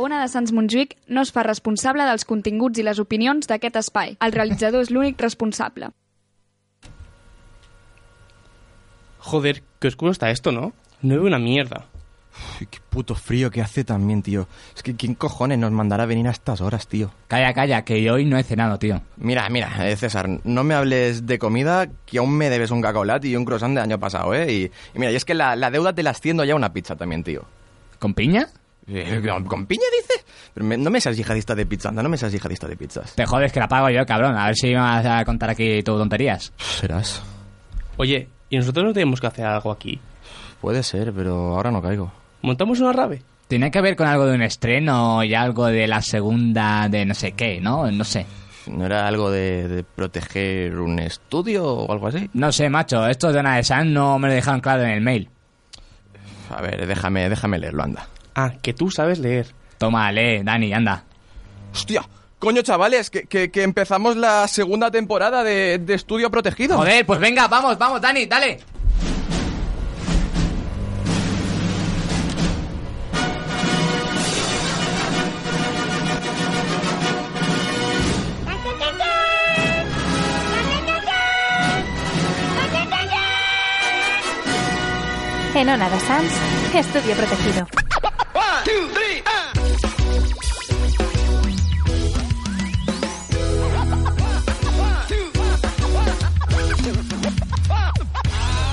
Ona de Sants Montjuïc no es fa responsable dels continguts i les opinions d'aquest espai. El realitzador és l'únic responsable. Joder, qué oscuro está esto, ¿no? No veo una mierda. Uy, qué puto frío que hace también, tío. Es que ¿quién cojones nos mandará a venir a estas horas, tío? Calla, calla, que yo hoy no he cenado, tío. Mira, mira, eh, César, no me hables de comida, que aún me debes un cacolat y un croissant del año pasado, ¿eh? Y, y mira, y es que la, la deuda te la extiendo ya a una pizza también, tío. ¿Con piña? Eh, ¿Con, con piña, dices? Pero me- no me seas yihadista de pizza, anda, no me seas yihadista de pizzas. Te jodes que la pago yo, cabrón. A ver si me vas a contar aquí tus tonterías. Serás. Oye, ¿y nosotros no tenemos que hacer algo aquí? Puede ser, pero ahora no caigo. ¿Montamos una rave? Tiene que ver con algo de un estreno y algo de la segunda de no sé qué, ¿no? No sé. ¿No era algo de, de proteger un estudio o algo así? No sé, macho. Esto de Ana de San no me lo dejaron claro en el mail. A ver, déjame, déjame leerlo, anda. Ah, que tú sabes leer. Toma, lee, Dani, anda. ¡Hostia! Coño, chavales, que, que- que empezamos la segunda temporada de, de Estudio Protegido. Joder, pues venga, vamos, vamos, Dani, dale. En Ona de Sants, estudio protegido.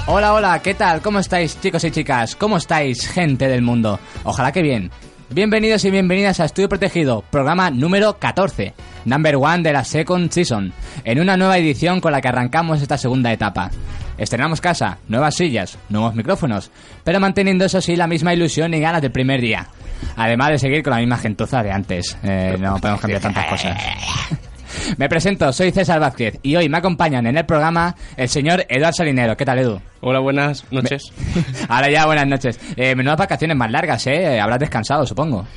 Hola, hola, ¿qué tal? ¿Cómo estáis, chicos y chicas? ¿Cómo estáis, gente del mundo? Ojalá que bien. Bienvenidos y bienvenidas a Estudio Protegido, programa número 14, number one de la second season, en una nueva edición con la que arrancamos esta segunda etapa. Estrenamos casa, nuevas sillas, nuevos micrófonos, pero manteniendo eso sí la misma ilusión y ganas del primer día. Además de seguir con la misma gentuza de antes. Eh, no podemos cambiar tantas cosas. Me presento, soy César Vázquez y hoy me acompañan en el programa el señor Eduardo Salinero. ¿Qué tal, Edu? Hola, buenas noches. Ahora ya, buenas noches. Eh, menudas vacaciones más largas, ¿eh? Habrás descansado, supongo.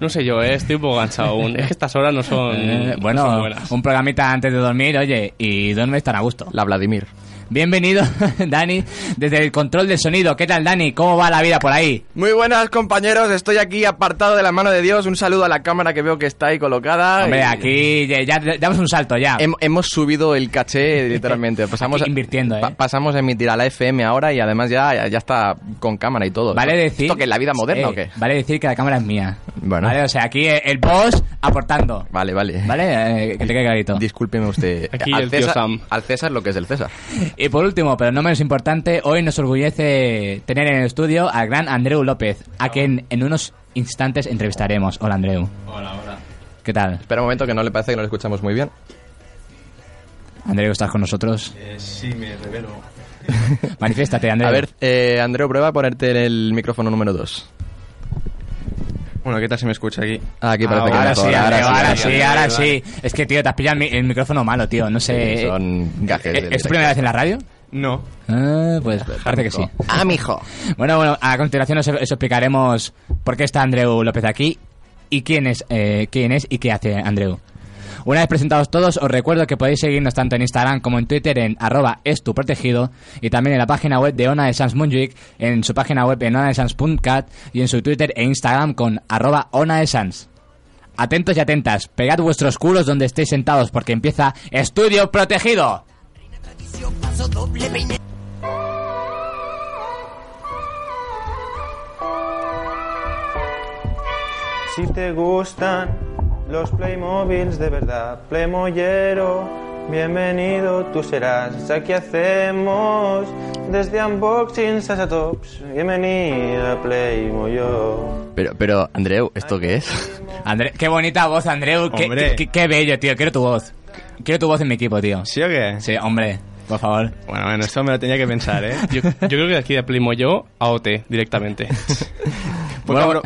No sé yo, eh, estoy un poco cansado aún. Es que estas horas no son, Eh, no son bueno, buenas. un programita antes de dormir, oye, y duermes tan a gusto. La Vladimir. Bienvenido, Dani, desde el control del sonido. ¿Qué tal, Dani? ¿Cómo va la vida por ahí? Muy buenas, compañeros. Estoy aquí apartado de la mano de Dios. Un saludo a la cámara que veo que está ahí colocada. Hombre, Y- aquí ya, ya- ya damos un salto ya. Hem- hemos subido el caché, literalmente. Pasamos a- invirtiendo, ¿eh? pasamos a emitir a la FM ahora y además ya, ya está con cámara y todo. Vale ¿Esto- decir... ¿Esto que es la vida moderna Eh, o qué? Vale decir que la cámara es mía. Bueno. Vale, o sea, aquí el, el boss aportando. Vale, vale. Vale, eh, que te quede clarito. Discúlpeme usted. Aquí al, el tío César, Sam. al César lo que es el César. Y por último, pero no menos importante, hoy nos orgullece tener en el estudio al gran Andreu López, a quien en unos instantes entrevistaremos. Hola, Andreu. Hola, hola. ¿Qué tal? Espera un momento que no le parece que no lo escuchamos muy bien. Andreu, ¿estás con nosotros? Eh, sí, me revelo. Manifiéstate, Andreu. A ver, eh, Andreu, prueba a ponerte el micrófono número 2. Bueno, ¿qué tal se me escucha aquí? Aquí Ah, Ahora, parece que mejor, sí, Andreu, ahora, ahora sí, Vale, ahora vale. sí. Es que, tío, te has pillado el mi- el micrófono malo, tío. No sé. Sí, son gajes ¿Es- del ¿Es tu directo. primera vez en la radio? No. Ah, pues parece que sí. Ah, mijo. Bueno, bueno, a continuación os, os explicaremos por qué está Andreu López aquí y quién es, eh, quién es y qué hace Andreu. Una vez presentados todos, os recuerdo que podéis seguirnos tanto en Instagram como en Twitter en arroba estuprotegido y también en la página web de Ona de Sans Montjuïc, en su página web en onadesanz.cat y en su Twitter e Instagram con arroba Ona de Sans. Atentos y atentas, pegad vuestros culos donde estéis sentados porque empieza Estudio Protegido. Si te gustan los Playmobiles de verdad, Playmoyero, bienvenido tú serás. Aquí hacemos desde unboxings hasta tops. Bienvenida, Playmoyo. Pero, pero, Andreu, ¿esto qué es? Andre- qué bonita voz, Andreu. Qué, Hombre. qué- qué bello, tío. Quiero tu voz. Quiero tu voz en mi equipo, tío. ¿Sí o qué? Sí, hombre, por favor. Bueno, bueno, esto me lo tenía que pensar, ¿eh? Yo, yo creo que de aquí de Plimo yo a OT directamente. Poca, bro-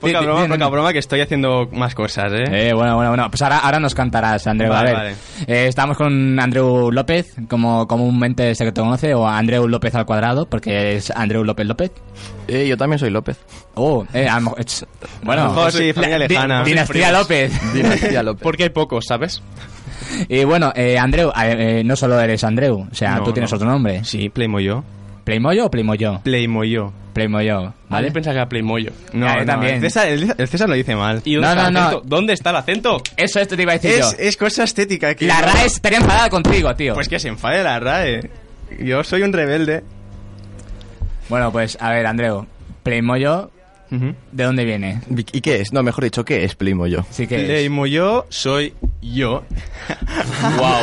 Poca Di- di- broma, di- poca broma que estoy haciendo más cosas, ¿eh? Eh, bueno, bueno, bueno. Pues ahora, ahora nos cantarás, Andreu. Vale, a ver. vale. Eh, estamos con Andreu López, como comúnmente se conoce, o Andreu López al cuadrado, porque es Andreu López López. Eh, yo también soy López. Oh, eh, a lo mejor- ch- A lo bueno, mejor sí, familia la- di- lejana. Dinastía López. Dinastía López. Eh, Porque hay pocos, ¿sabes? Y bueno, eh, Andreu, eh, eh, no solo eres Andreu, o sea, No, tú tienes no. otro nombre. Sí, Playmoyo. ¿Playmoyo o Playmoyo? Playmoyo. Playmoyo, Vale, ¿vale? pensaba que era Playmoyo. No, Ah, yo no, también. El César, el- el César lo dice mal. ¿Y No, dónde está no, el no. acento? ¿Dónde está el acento? Eso, esto te iba a decir Es, yo. es cosa estética. Que La no- RAE estaría enfadada contigo, tío. Pues que se enfade la RAE. Yo soy un rebelde. Bueno, pues a ver, Andreu, Playmoyo, Ujú. ¿de dónde viene? ¿Y qué es? No, mejor dicho, ¿qué es Plimoyo? Sí que es. Playmoyo soy yo.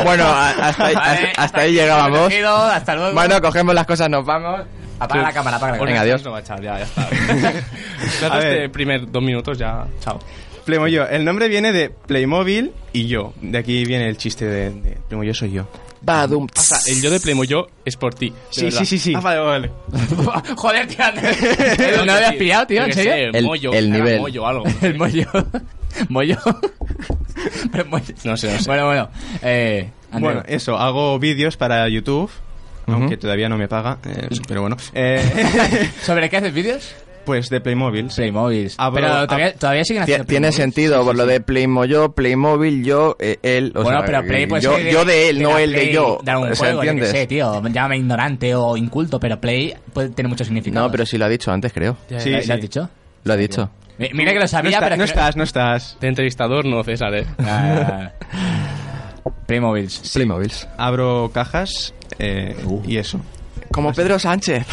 Bueno, a- hasta ahí, Vale, hasta, hasta ahí llegábamos. Protegido, hasta luego. Bueno, cogemos las cosas, nos vamos. apaga la cámara, apaga la Venga, cámara. adiós. No, chaval, ya, ya está. Trato A ver. este primer dos minutos, ya. Chao. Playmoyo. El nombre viene de Playmobil y yo. De aquí viene el chiste de, de Playmoyo soy yo. Badum. O sea, el yo de Playmoyo es por ti. de Sí, verdad. sí, sí, sí. Ah, vale, vale. Joder, tío, Andreu. ¿No lo habías pillado, tío? ¿En Yo qué sé, serio? El- mollo, el era nivel. mollo, algo. El mollo. Mollo. Pero mollo. No sé, no sé. Bueno, bueno. Eh, Andreu. Bueno, eso, hago vídeos para YouTube. Aunque todavía no me paga, eh, pero bueno. Eh, ¿Sobre qué haces vídeos? pues de Playmobil. Playmobil. Ah, pero pero- todavía, ah, todavía siguen Tie- haciendo Tiene Playmobil. sentido por lo de Playmoyo, Playmobil, yo, eh, él. O bueno, sea, pero Play pues yo, ser yo de él, no la él de Play yo. De algún O sea, juego, yo qué ¿entiendes? sé, tío. Llámame ignorante o inculto, pero Play puede tener mucho significado. No, pero sí lo ha dicho antes, creo. Sí, ¿Lo, sí. lo has dicho? Lo ha dicho. Mi- Mira que lo No, sabía, está- pero... no es que- estás, no estás. De entrevistador, no, César, eh. Ah, Playmobil. Playmobils. Abro cajas eh, Uh. y eso. Como Pedro Sánchez.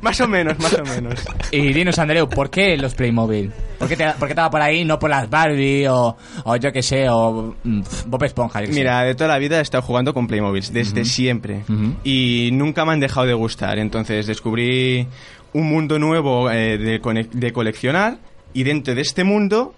más o menos, más o menos. Y dinos, Andreu, ¿por qué los Playmobil? ¿Por qué te, por qué te va por ahí, no por las Barbie o, o yo qué sé, o mm, Bob Esponja? yo qué sé? Mira, de toda la vida he estado jugando con Playmobiles, desde siempre. Ujú. Y nunca me han dejado de gustar. Entonces descubrí un mundo nuevo eh, de, cone- de coleccionar. Y dentro de este mundo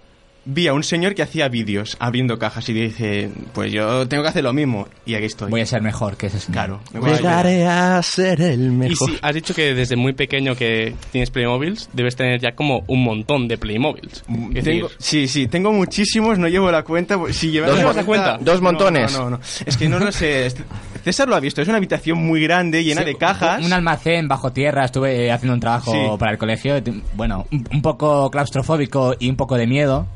vi a un señor que hacía vídeos abriendo cajas. Y dije, pues yo tengo que hacer lo mismo. Y aquí estoy. Voy a ser mejor que ese señor. Claro. me voy a- Llegaré a ser el Y mejor. si has dicho que desde muy pequeño que tienes Playmobiles, debes tener ya como un montón de Playmobiles. Es Tengo- decir, sí, sí, tengo muchísimos, no llevo la cuenta. pues, Si llevara Dos la mon- dos No, montones. No, no, no. Es que no lo sé. Este- César lo ha visto, es una habitación muy grande, llena Sí, de cajas. Un almacén bajo tierra, estuve eh, haciendo un trabajo Sí. para el colegio, t- bueno, un, un poco claustrofóbico y un poco de miedo.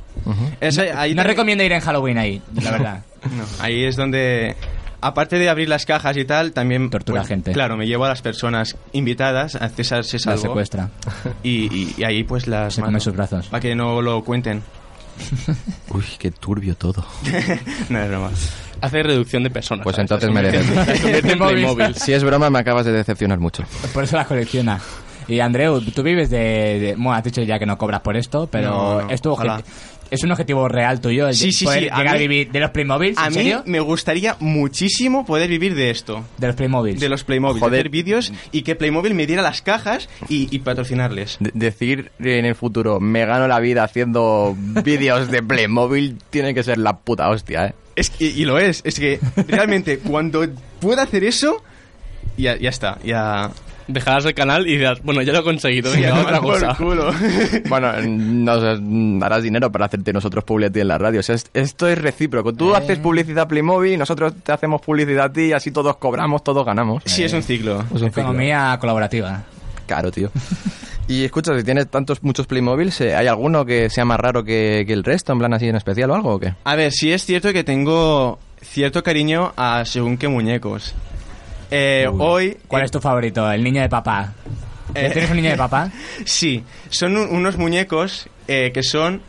Es- ahí no también- recomiendo ir en Halloween ahí, la verdad. No, ahí es donde, aparte de abrir las cajas y tal, también... pues, Tortura gente. Claro, me llevo a las personas invitadas, a César se La salvó. secuestra. Y, y- y ahí pues las... Se come sus brazos. Para que no lo cuenten. Uy, qué turbio todo. no es broma. hace reducción de personas. Pues ¿sabes? entonces me Se convierte- debes. se convierte en Playmobiles. Si es broma, me acabas de decepcionar mucho. Por eso las colecciona. Y Andreu, tú vives de, de- Bueno, has dicho ya que no cobras por esto, pero No, no, es tu ojalá. obje- Es un objetivo real tuyo el de Sí, sí, poder sí, a llegar a, mí- vivir de los Playmobil, A ¿en mí serio? me gustaría muchísimo poder vivir de esto. De los Playmobil. De los Playmobil, Joder. de hacer vídeos y que Playmobil me diera las cajas y, y patrocinarles. De- decir en el futuro, me gano la vida haciendo vídeos de Playmobil, tiene que ser la puta hostia, ¿eh? Es que- y lo es, es que realmente cuando pueda hacer eso, ya, ya está, ya... Dejarás el canal y dirás, bueno, ya lo he conseguido, ya venga, tomar por otra cosa. culo. Bueno, nos darás dinero para hacerte nosotros publicidad en la radio. O sea, es- esto es recíproco. Tú haces publicidad a Playmobil, nosotros te hacemos publicidad a ti y así todos cobramos, todos ganamos. Sí, es un ciclo. Es un ciclo. Economía colaborativa. Claro, tío. Y escucha, si tienes tantos, muchos Playmobiles, eh, ¿hay alguno que sea más raro que, que el resto? ¿En plan así en especial o algo o qué? A ver, sí es cierto que tengo cierto cariño a según qué muñecos. Eh, eh, hoy... ¿Cuál es tu favorito? El niño de papá. ¿Ya ¿Tienes un niño de papá? Sí, son un- unos muñecos eh, que son...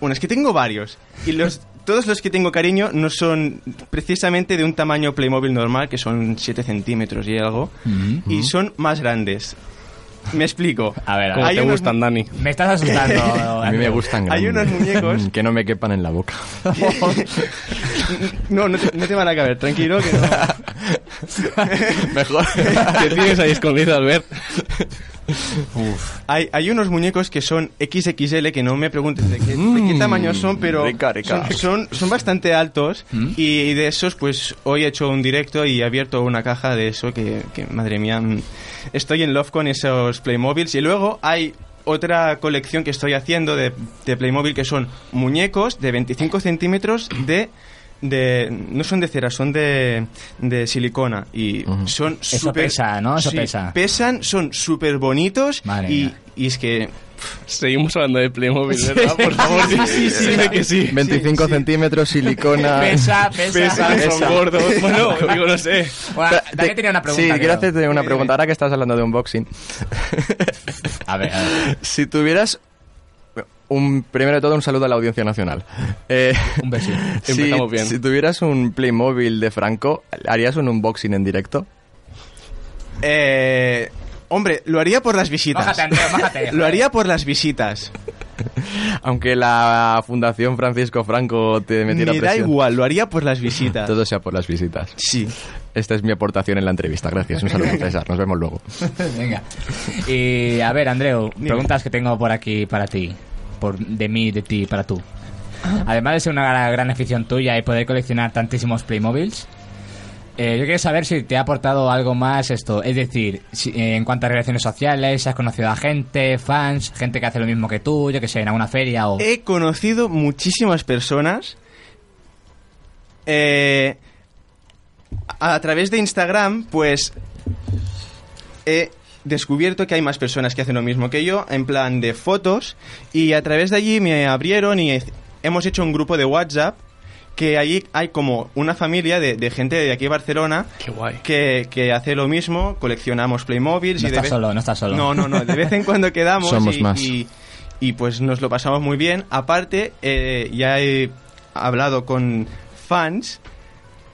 Bueno, es que tengo varios. Y los, todos los que tengo cariño no son precisamente de un tamaño Playmobil normal, que son 7 centímetros y algo. Mm. Y son más grandes. Me explico. A ver, a Como ver. Hay te unos- gustan, Dani. Me estás asustando. A mí me gustan Hay grandes. unos muñecos. que no me quepan en la boca. No, no te, no te van a caber, tranquilo que no. Mejor. ¿Qué tienes ahí escondido, Albert? Hay, hay unos muñecos que son XXL, que no me preguntes de qué, de qué Mm, tamaño son, pero rica, rica. Mm. Son, son, son bastante altos. Y de esos, pues hoy he hecho un directo y he abierto una caja de eso que, que, madre mía, mm, estoy en love con esos Playmobiles. Y luego hay otra colección que estoy haciendo de, de Playmobil que son muñecos de 25 centímetros de... De, no son de cera, son de, de silicona y son Eso súper- pesa, ¿no? Eso sí, pesa. pesan, son súper bonitos Madre y, mía. y es que... Seguimos hablando de Playmobil, ¿verdad? Por favor, Sí, dime- sí, sí. dime que sí. 25 centímetros, silicona. pesa. Pesan, son gordos. Bueno, digo, no sé. Bueno, Espera, también te- tenía una pregunta. Sí, creo. quiero hacerte una pregunta. Ahora que estás hablando de unboxing. A ver, a ver. Si tuvieras. Un, primero de todo, un saludo a la Audiencia Nacional. Eh, Un besito. si, Empezamos bien. si tuvieras un Playmobil de Franco, ¿harías un unboxing en directo? Eh, hombre, lo haría por las visitas. Bájate, Andreu, bájate. Lo haría por las visitas. Aunque la Fundación Francisco Franco te Me metiera da presión. igual, lo haría por las visitas. Todo sea por las visitas. Sí. Esta es mi aportación en la entrevista. Gracias. Un saludo, César. Nos vemos luego. Venga. Y a ver, Andreu, preguntas que tengo por aquí para ti. Por, de mí, de ti, para tú. Ah. Además de ser una gran afición tuya y poder coleccionar tantísimos Playmobiles, eh, yo quiero saber si te ha aportado algo más esto. Es decir, si- eh, en cuanto a relaciones sociales, si has conocido a gente, fans, gente que hace lo mismo que tú, yo que sé, en alguna feria o... He conocido muchísimas personas eh, a a través de Instagram, pues he descubierto que hay más personas que hacen lo mismo que yo, en plan de fotos, y a través de allí me abrieron y he- hemos hecho un grupo de WhatsApp, que allí hay como una familia de, de gente de aquí de Barcelona Qué guay. que, que hace lo mismo, coleccionamos Playmobil. No y de estás vez- solo, no estás solo. No, no, no, de vez en cuando quedamos Somos y, más. y- y, pues nos lo pasamos muy bien. Aparte, eh, ya he hablado con fans,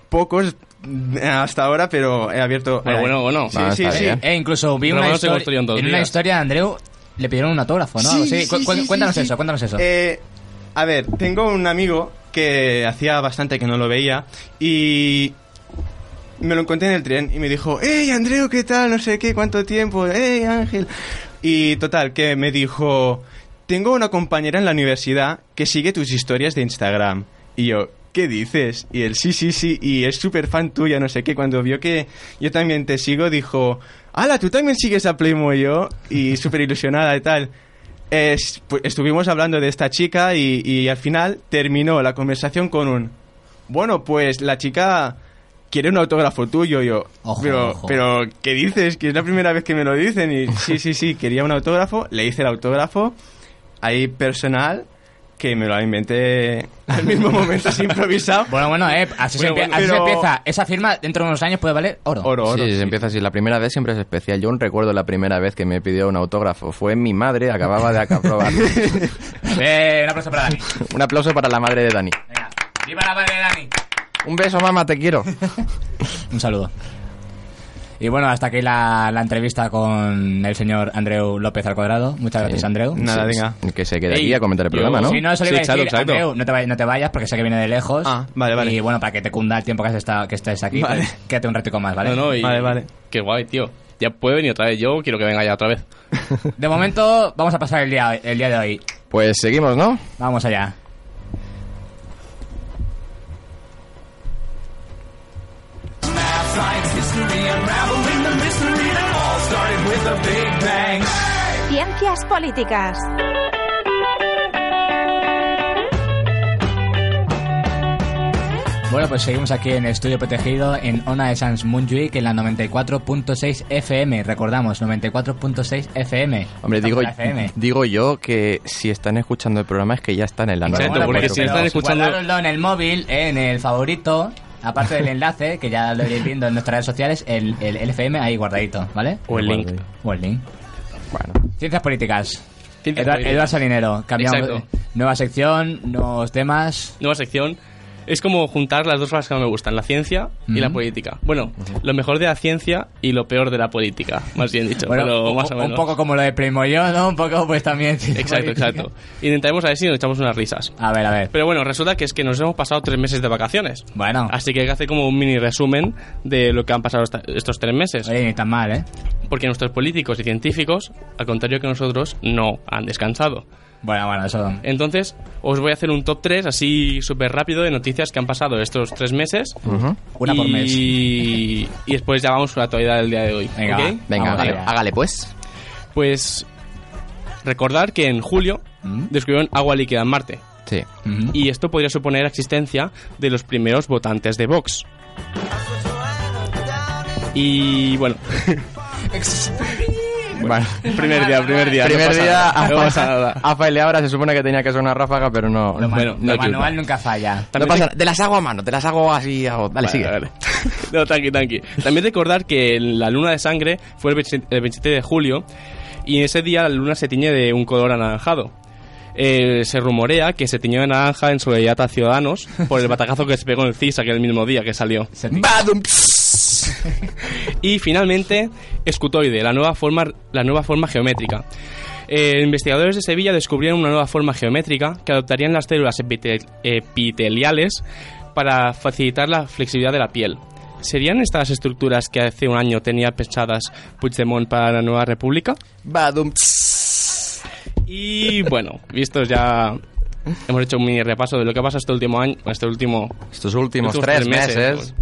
pocos mm, hasta ahora, pero he abierto... Bueno, eh, bueno, bueno. Sí, Ah, sí, está sí. bien. Eh, incluso vi Pero una bueno, se histori- construyó en dos en una días. historia a Andreu le pidieron un autógrafo, ¿no? Algo Sí, así. Cu- sí, cu- sí, cuéntanos sí, sí. eso, cuéntanos eso. Eh, a ver, tengo un amigo que hacía bastante que no lo veía y me lo encontré en el tren y me dijo, hey Andreu, ¿qué tal? No sé qué, cuánto tiempo, hey Ángel. Y total, que me dijo, tengo una compañera en la universidad que sigue tus historias de Instagram. Y yo, ¿qué dices? Y él, sí, sí, sí, y es súper fan tuya, no sé qué. Cuando vio que yo también te sigo, dijo, ala, tú también sigues a Playmobil yo. Y súper ilusionada y tal. Es- pues, estuvimos hablando de esta chica y, y al final terminó la conversación con un bueno pues la chica quiere un autógrafo tuyo yo Ojo, pero ojo. pero qué dices que es la primera vez que me lo dicen y sí sí sí quería un autógrafo le hice el autógrafo ahí personal que me lo inventé al mismo momento así improvisado Bueno, bueno, eh, así, se, Bueno, empie- bueno, así se pero- empieza. Esa firma dentro de unos años puede valer oro. oro oro sí, se empieza así. La primera vez siempre es especial. Yo aún recuerdo la primera vez que me pidió un autógrafo. Fue mi madre, acababa de acabar. Eh, un aplauso para Dani. un aplauso para la madre de Dani. Venga, viva la madre de Dani. Un beso, mamá, te quiero. Un saludo. Y bueno, hasta aquí la, la entrevista con el señor Andreu López al cuadrado. Muchas gracias, Andreu. Nada, venga. Que se quede Ey, aquí a comentar el yo- programa, ¿no? Sí, no, eso le iba Sí, a decir, exacto, exacto. Andreu, no te, vayas, no te vayas porque sé que viene de lejos. Ah, vale, vale. Y bueno, para que te cunda el tiempo que, has estado, que estés aquí, Vale. pues, quédate un ratico más, ¿vale? No, no, y- Vale, vale. Qué guay, tío. Ya puede venir otra vez. Yo quiero que venga ya otra vez. De momento, vamos a pasar el día, el día de hoy. Pues seguimos, ¿no? Vamos allá. Ciencias políticas. Bueno, pues seguimos aquí en Estudio Protegido en Ona de Sans Munjuic en la 94.6 FM. Recordamos, 94.6 FM. Hombre, Esta digo, es la FM. digo yo que si están escuchando el programa es que ya están en la Exacto, nueva. porque si pero están escuchando- guardadlo pues en el móvil, eh, en el favorito, aparte del enlace, que ya lo iréis viendo en nuestras redes sociales, el, el, el FM ahí guardadito, ¿vale? O el link. O el link. Bueno, Ciencias políticas. Ciencias Eduard- políticas. Eduard Salinero, cambiamos. Exacto. Nueva sección, nuevos temas. Nueva sección. Es como juntar las dos cosas que no me gustan, la ciencia y la Ujú. política. Bueno, lo mejor de la ciencia y lo peor de la política, más bien dicho. Bueno, pero un- más o un menos. poco como lo de Primo y yo, ¿no? Un poco pues también. Exacto, exacto. Intentaremos a ver si nos echamos unas risas. A ver, a ver. Pero bueno, resulta que es que nos hemos pasado tres meses de vacaciones. Bueno. Así que hay que hacer como un mini resumen de lo que han pasado esta- estos tres meses. Oye, ni tan mal, ¿eh? Porque nuestros políticos y científicos, al contrario que nosotros, no han descansado. Bueno, bueno, eso. Entonces, os voy a hacer un top 3 así súper rápido de noticias que han pasado estos tres meses. Una por Y- mes. Y después ya vamos con la actualidad del día de hoy. Venga, ¿ok? va. Venga, Vamos hágale, allá. hágale, pues. Pues recordar que en julio Mm. descubrieron agua líquida en Marte. Sí. Ujú. Y esto podría suponer la existencia de los primeros votantes de Vox. Y bueno, Bueno. primer día, primer día. no Primer pasa día, nada, a, no pasa nada. a Faile ahora se supone que tenía que ser una ráfaga, pero no. Lo, no- man- bueno, lo no manual equivoco. nunca falla. no También pasa nada. Te las hago a mano, te las hago así. hago- Dale, Vale, sigue. vale. No, tranqui, tranqui. También recordar que la luna de sangre fue el 20 el 27 de julio y ese día la luna se tiñe de un color anaranjado. Eh, se rumorea que se tiñó de naranja en solidaridad a Ciudadanos por el batacazo que se pegó en el CIS aquel mismo día que salió. Se ti- Badum. Y finalmente, escutoide, la nueva forma, la nueva forma geométrica. Eh, investigadores de Sevilla descubrieron una nueva forma geométrica que adoptarían las células epite- epiteliales para facilitar la flexibilidad de la piel. ¿Serían estas estructuras que hace un año tenía pensadas Puigdemont para la nueva república? Badum. Y bueno, vistos ya... Hemos hecho un mini repaso de lo que ha pasado este último año, este último... Estos últimos estos pues, tres, meses.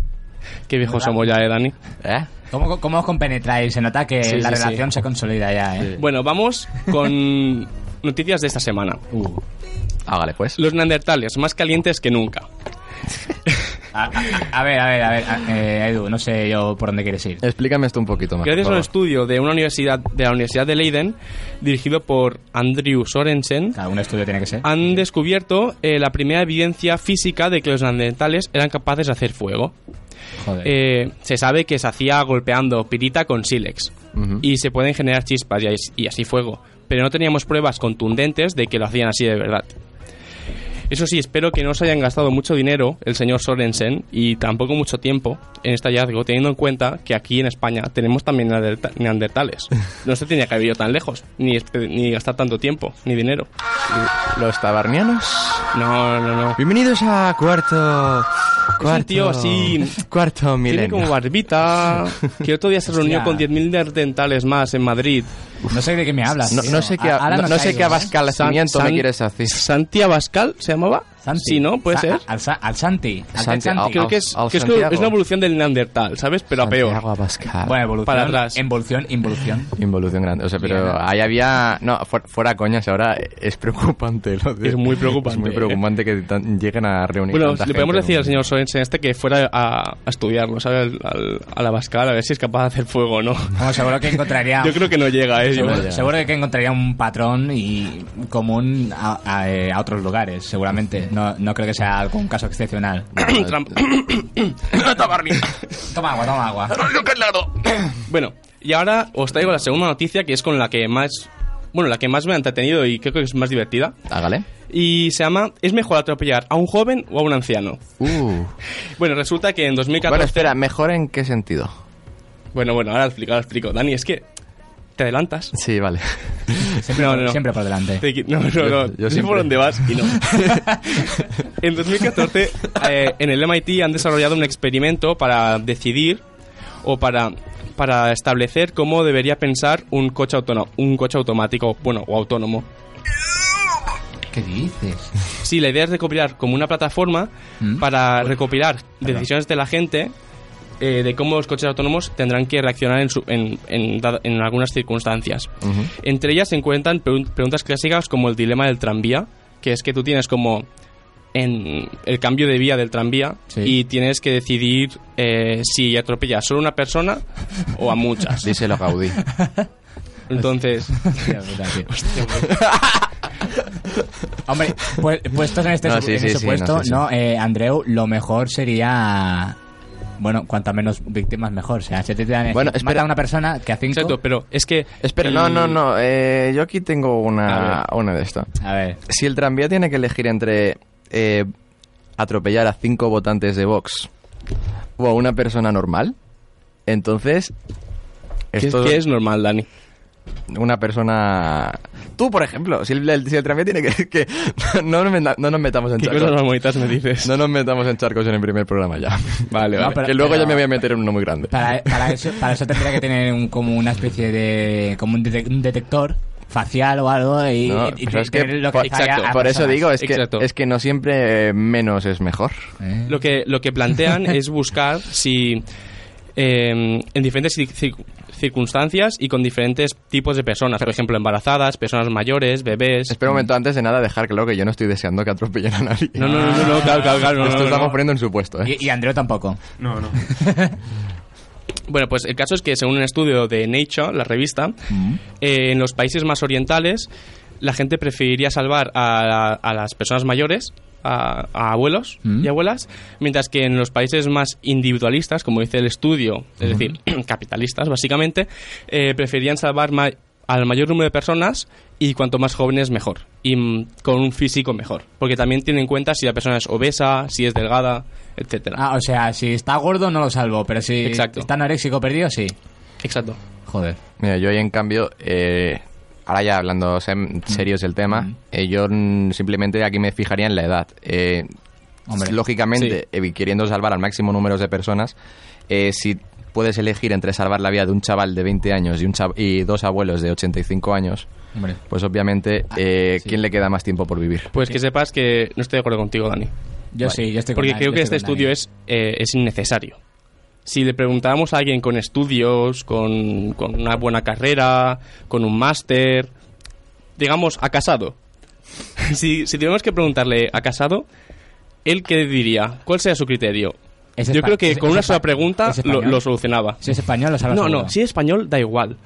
Qué viejos somos ya, eh, Dani. ¿Eh? ¿Cómo, ¿Cómo os compenetráis? Se nota que Sí, la sí, sí. relación se consolida ya, ¿eh? Bueno, vamos con noticias de esta semana. Uh. Hágale, pues. Los neandertales, más calientes que nunca. A, a- a ver, a ver, a ver. a- eh, Edu, no sé yo por dónde quieres ir. Explícame esto un poquito más. Gracias a por un favor. estudio de una universidad de la Universidad de Leiden, dirigido por Andrew Sorensen, Cada un estudio tiene que ser. han descubierto eh, la primera evidencia física de que los neandertales eran capaces de hacer fuego. Joder. Eh, se sabe que se hacía golpeando pirita con sílex Ujú. y se pueden generar chispas y, as- y así fuego, pero no teníamos pruebas contundentes de que lo hacían así de verdad. Eso sí, espero que no se hayan gastado mucho dinero el señor Sorensen y tampoco mucho tiempo en este hallazgo, teniendo en cuenta que aquí en España tenemos también neanderta- neandertales. No se tenía que haber ido tan lejos, ni, espe- ni gastar tanto tiempo, ni dinero. Los tabarnianos. No, no, no. Bienvenidos a cuarto. cuarto tío así- Cuarto Tiene milenio. como barbita, que otro día se reunió Hostia. con 10.000 neandertales más en Madrid. no sé de qué me hablas. No, tío. no sé qué, A- a- ahora no, nos no sé caigo, qué ¿eh? abascalamiento San- me San- quieres decir. Santi Abascal se llamaba. Santi. Sí, ¿no? Puede Sa- ser. ah, Al, Sa- al Santi. Al Santi, Santi. Santi. Creo que, es, ah, Al que es, Santiago. es una evolución del Neandertal, ¿sabes? Pero a peor. Santiago Abascal. Bueno, evolución. Para atrás. Evolución, involución. Involución grande. O sea, pero Bien. ahí había. No, fu- fuera coñas, ahora es preocupante. lo de- Es muy preocupante, ¿eh? Es muy preocupante que tan- lleguen a reunir. Bueno, tanta le podemos gente en decir al un- señor Sorensen este que fuera a, a estudiarlo, ¿sabes? Al, al, al Abascal, a ver si es capaz de hacer fuego o no. Vamos, seguro que encontraría. Yo creo que no llega, ¿eh? Yo- Seguro, ya. seguro que encontraría un patrón y común a, a, eh, a otros lugares, seguramente. No, no creo que sea algún caso excepcional. Trump. Toma agua, toma agua. bueno, y ahora os traigo la segunda noticia que es con la que más. Bueno, la que más me ha entretenido y creo que es más divertida. Hágale. Y se llama ¿Es mejor atropellar a un joven o a un anciano? Uh. Bueno, resulta que en 2014. Bueno, espera, ¿mejor en qué sentido? Bueno, bueno, ahora lo explico, ahora lo explico. Dani, es que te adelantas. Sí, vale. Siempre, No, por- no, no. siempre por delante. Te qui- No, no, Yo- no. yo Yo sé siempre. por dónde vas y no. en 2014, eh, en el MIT han desarrollado un experimento para decidir o para, para establecer cómo debería pensar un coche, autónomo, un coche automático, bueno, o autónomo. ¿Qué dices? Sí, la idea es recopilar como una plataforma ¿Mm? para recopilar decisiones de la gente eh, de cómo los coches autónomos tendrán que reaccionar en, su- en- en dada- en algunas circunstancias. Entre ellas se encuentran pregun- preguntas clásicas como el dilema del tranvía, que es que tú tienes como en el cambio de vía del tranvía Sí. y tienes que decidir eh, si atropellas solo a una persona o a muchas. Díselo, Gaudí. Entonces, Hostia puta, tío. Hombre, pues, puestos en este No, supu- sí, en sí, ese sí, puesto, no, no, sí, sí. Eh, Andreu, lo mejor sería. Bueno, cuanta menos víctimas, mejor. O sea, si a ti te dan. Bueno, mata espera. a una persona que a cinco. exacto, pero es que... Espera, el- no, no, no. eh, yo aquí tengo una, A una de estas. A ver. Si el tranvía tiene que elegir entre eh, atropellar a cinco votantes de Vox o a una persona normal, entonces... ¿Qué, esto- qué es normal, Dani? una persona... Tú, por ejemplo, si el, el- si el tranvía tiene que... que- no, nos meta- no nos metamos en ¿Qué cosas charcos. más bonitas me dices? No nos metamos en charcos en el primer programa ya. Vale, No, vale. pero- que luego pero- ya me voy a meter en uno muy grande. Para, para eso, para eso tendría que tener un- como una especie de. como un, dete- un detector facial o algo y, No, y- y pero es tener que que por- le sale a- exacto, a Por eso personas. digo, es que, Exacto. es que no siempre eh, menos es mejor. Eh. Lo que, lo que plantean es buscar si eh, en diferentes cir- cir- circunstancias y con diferentes tipos de personas, por ejemplo, embarazadas, personas mayores, bebés. Espera un momento antes de nada dejar claro que yo no estoy deseando que atropellen a nadie. No, no, no, no, no, claro, claro, claro. no, Esto no, no. estamos poniendo en su puesto, ¿eh? Y, y Andreu tampoco. No, no. Bueno, pues el caso es que según un estudio de Nature, la revista, Mm. eh, en los países más orientales la gente preferiría salvar a, a las personas mayores, a, a abuelos Mm. y abuelas, mientras que en los países más individualistas, como dice el estudio, es decir, capitalistas básicamente, eh, preferirían salvar ma- al mayor número de personas y cuanto más jóvenes mejor, y mm, con un físico mejor, porque también tienen en cuenta si la persona es obesa, si es delgada, etcétera. Ah, o sea, si está gordo no lo salvo, pero si Exacto. está anoréxico perdido, sí. Exacto. Joder. Mira, yo ahí en cambio, eh, ahora ya hablando Mm. sem- serios del tema, eh, yo mm, simplemente aquí me fijaría en la edad. Eh, Hombre. Lógicamente, eh, queriendo salvar al máximo número de personas, eh, si puedes elegir entre salvar la vida de un chaval de 20 años y, un chav- y dos abuelos de 85 años, Hombre. pues obviamente, Ah, eh, ¿quién le queda más tiempo por vivir? Pues que sepas que no estoy de acuerdo contigo, Dani. Yo sí, yo estoy con Porque Dani, creo yo que este estoy con estudio Dani. es, eh, es innecesario. Si le preguntáramos a alguien con estudios, con, con una buena carrera, con un máster, digamos, a casado, si, si tuviéramos que preguntarle a casado, ¿él qué diría? ¿Cuál sería su criterio? Es Yo espa- creo que es- con es una espa- sola pregunta es lo, español. lo solucionaba. Si es español, lo salvo No, no, seguro. si es español, da igual.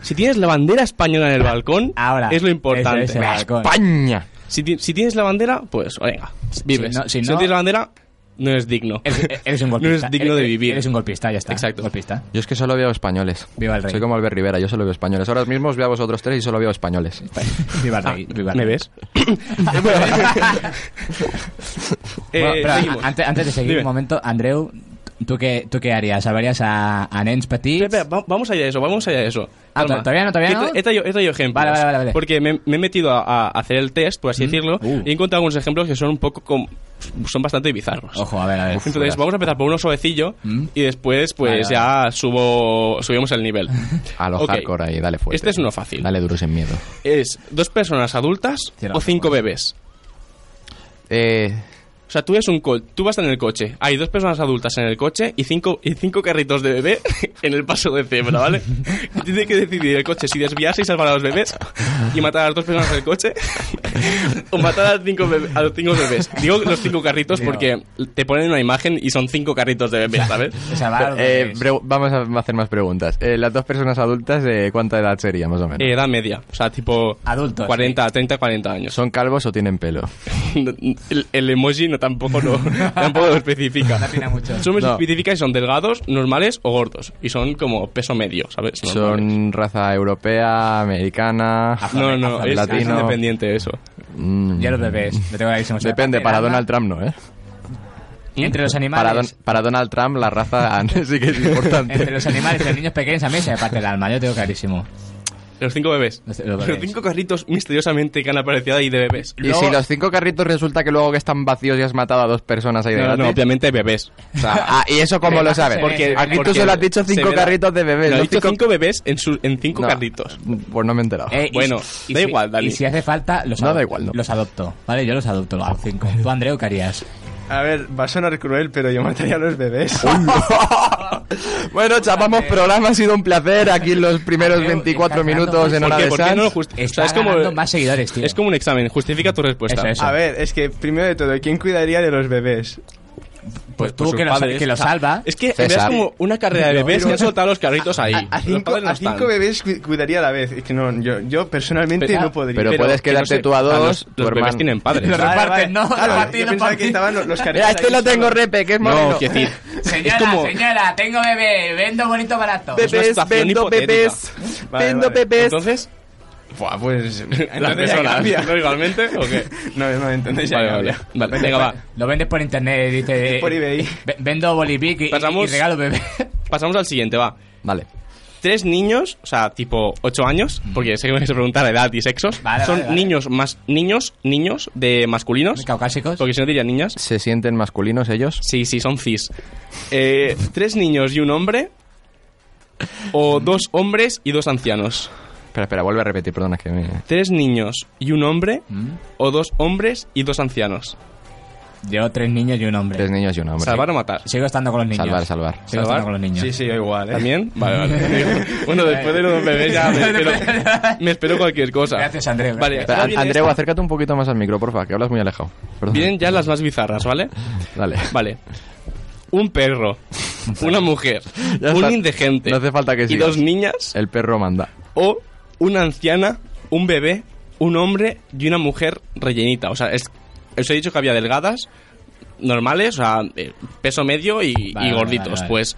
Si tienes la bandera española en el balcón, Ahora. es lo importante. Eso es el balcón. ¡Paña! Si, ti- si tienes la bandera, pues venga, vives. Si no- si Si no, no- tienes la bandera, no eres digno. Eres, eres un No golpista. eres digno de Eres- vivir. Eres un golpista, ya está. Exacto. Golpista. Yo es que solo veo españoles. Viva el rey. Soy como Albert Rivera, yo solo veo españoles. Ahora mismo os veo a vosotros tres y solo veo españoles. Viva el Ah, rey, viva el ¿Me rey. ves? Eh, Bueno, però, seguimos. a- antes, antes de seguir, Dime. un momento, Andreu, ¿tú qué, tú qué harías? ¿Salvarías a, a nens petits? Espera, espera, va- vamos allá de eso, vamos allá de eso. Ah, Calma. todavía no, todavía Que no. He, traído, he traído ejemplos. Vale, vale, vale, vale. Porque me, me he metido a, a hacer el test, por así decirlo, Uh. y he encontrado algunos ejemplos que son un poco. com- son bastante bizarros. Ojo, a ver, a ver. Entonces, vamos a empezar por uno suavecillo Mm. y después, pues Vale, ya subo, subimos el nivel. A lo Ok. eh. hardcore ahí, dale fuerte. Este es uno fácil. Dale duro sin miedo. Es dos personas adultas Cierra o los cinco ojos. bebés. Eh, O sea, tú eres un col, tú vas en el coche, hay dos personas adultas en el coche y cinco, y cinco carritos de bebé en el paso de cebra, ¿vale? Y Tiene que decidir el coche si desviarse y salvar a los bebés y matar a las dos personas del coche o matar a, cinco bebé- a los cinco bebés. Digo los cinco carritos Digo. porque te ponen una imagen y son cinco carritos de bebé, ¿sabes? O sea, va, eh, pues, pregu- vamos a hacer más preguntas. Eh, las dos personas adultas, eh, ¿cuánta edad sería más o menos? Eh, edad media, o sea, tipo Adultos, 40, 30, 40 años. ¿Son calvos o tienen pelo? El, el emoji no tampoco lo, tampoco lo especifica. No tiene mucho. Son No. especifica si son delgados, normales o gordos. Y son como peso medio, ¿sabes? Normales. ¿Son raza europea, americana? No, no, es, es Latino. independiente eso. Mm, ya los bebés, lo tengo clarísimo. O sea, Depende, para Donald Trump no, ¿eh? Entre los animales. Para, Don- para Donald Trump la raza sí que es Entre importante. los animales y los niños pequeños a mí se me parte el alma, yo tengo clarísimo. Los cinco bebés. Los- Los, los bebés. cinco carritos misteriosamente que han aparecido ahí de bebés. Y si los cinco carritos resulta que luego que están vacíos y has matado a dos personas ahí de No, no, gratis? obviamente hay bebés. O sea, ah, ¿y eso cómo lo sabes? Porque, aquí porque tú solo has dicho se cinco ve la- carritos de bebés. No, he ¿no? dicho cinco bebés en, su- en cinco No, carritos. Pues no me he enterado. Eh, Bueno, si- da si- igual, Dani. Y si hace falta, los, No, da adop- igual, no. los adopto, ¿vale? Yo los adopto, los cinco. Tú, Andreu, ¿qué harías? A ver, va a sonar cruel, pero yo mataría a los bebés. bueno, chapamos eh, programa, ha sido un placer aquí en los primeros Andreu, 24 estás ganando minutos en mucho. hora ¿Por de qué? ¿Por qué Sans. no lo justi- o Está sea, Pues, es como- ganando más seguidores, tío. Es como un examen, justifica tu respuesta. Eso, eso. A ver, es que primero de todo, ¿quién cuidaría de los bebés? Pues tú, por sus que lo, padres. que lo O sea, salva. Es que en César. verdad es como una carrera de bebés que han soltado los carritos ahí. A Los cinco, padres no a cinco están. bebés cu- cuidaría a la vez. Es que no, yo, yo personalmente Pero- no podría. Pero Pero puedes que no quedarte sé, tú a dos, pues, los, tu los bebés hermano. tienen padres. Los Vale, reparten, vale. ¿no? Claro, Los reparten, yo pensaba no, que estaban los, los Mira, carretas este ahí lo solos. tengo repe, que es moreno. No, que decir. Señora, es como. señora, tengo bebé, vendo bonito barato. es una Bebés, situación vendo hipotética. bebés, Vale, vendo vale. bebés. Entonces, Buah, pues. Las entonces ya cambia. personas, ¿no? Igualmente, ¿o qué? No, no, entonces ya Vale, vale, cambia. vale. Vale, venga, va. Lo vendes por internet, eh, dice. Por eBay. "Ve- Vendo Bolivic y, y- Pasamos- y regalo bebé. Pasamos al siguiente, va. Vale. Tres niños, o sea, tipo 8 años, porque sé que me vais a preguntar edad y sexos. Vale, Son vale, vale. niños más niños, niños de masculinos. Caucásicos. Porque si no diría niñas. ¿Se sienten masculinos ellos? Sí, sí, son cis. Eh, tres niños y un hombre. O dos hombres y dos ancianos. Espera, espera, vuelve a repetir, perdona, es que me... Tres niños y un hombre. Mm, O dos hombres y dos ancianos. Yo tres niños y un hombre. Tres niños y un hombre. Salvar o matar. Sigo estando con los niños. Salvar, salvar. Sigo Salvar. estando con los niños. Sí, sí, yo igual, ¿eh? ¿También? Vale, vale. bueno, después de eh. los bebés ya me espero, me espero cualquier cosa. Gracias, Andreu. Vale, Espera, ahora An- viene Andreu, esta. acércate un poquito más al micro, porfa, que hablas muy alejado. Perdón. Vienen ya las más bizarras, ¿vale? Dale. Vale. Un perro, una mujer, Ya un está. indigente No hace falta que y sigas. dos niñas El perro manda. o una anciana, un bebé, un hombre y una mujer rellenita. O sea, es, os he dicho que había delgadas, normales, o sea, eh, peso medio y, y vale, gorditos. vale, vale. Pues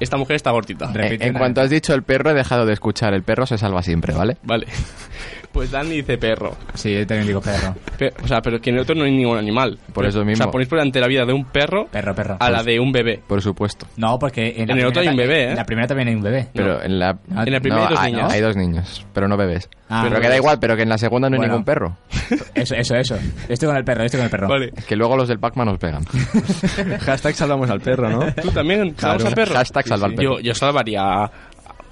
esta mujer está gordita. Re- Repite, Eh, en nada. cuanto has dicho el perro, he dejado de escuchar. El perro se salva siempre, ¿vale? Vale. Pues Dani dice perro. Sí, yo también digo perro. Pe- o sea, pero que en el otro no hay ningún animal. Por eso O sea, mismo. ponéis por delante la vida de un perro, Perro, perro. Pues a la de un bebé. Por supuesto. No, porque en, la En el primera otro hay un ta- bebé, ¿eh? En la primera también hay un bebé. Pero en la... En la primera hay dos hay, niños. hay dos niños, pero no bebés. Ah. pero que da igual, pero que en la segunda no hay Bueno. ningún perro. Eso, eso, eso. Estoy con el perro, estoy con el perro. Vale. Es que luego los del Pac-Man nos pegan. Hashtag salvamos al perro, ¿no? Tú también salvas al perro. Hashtag salva al perro. Yo, yo salvaría a,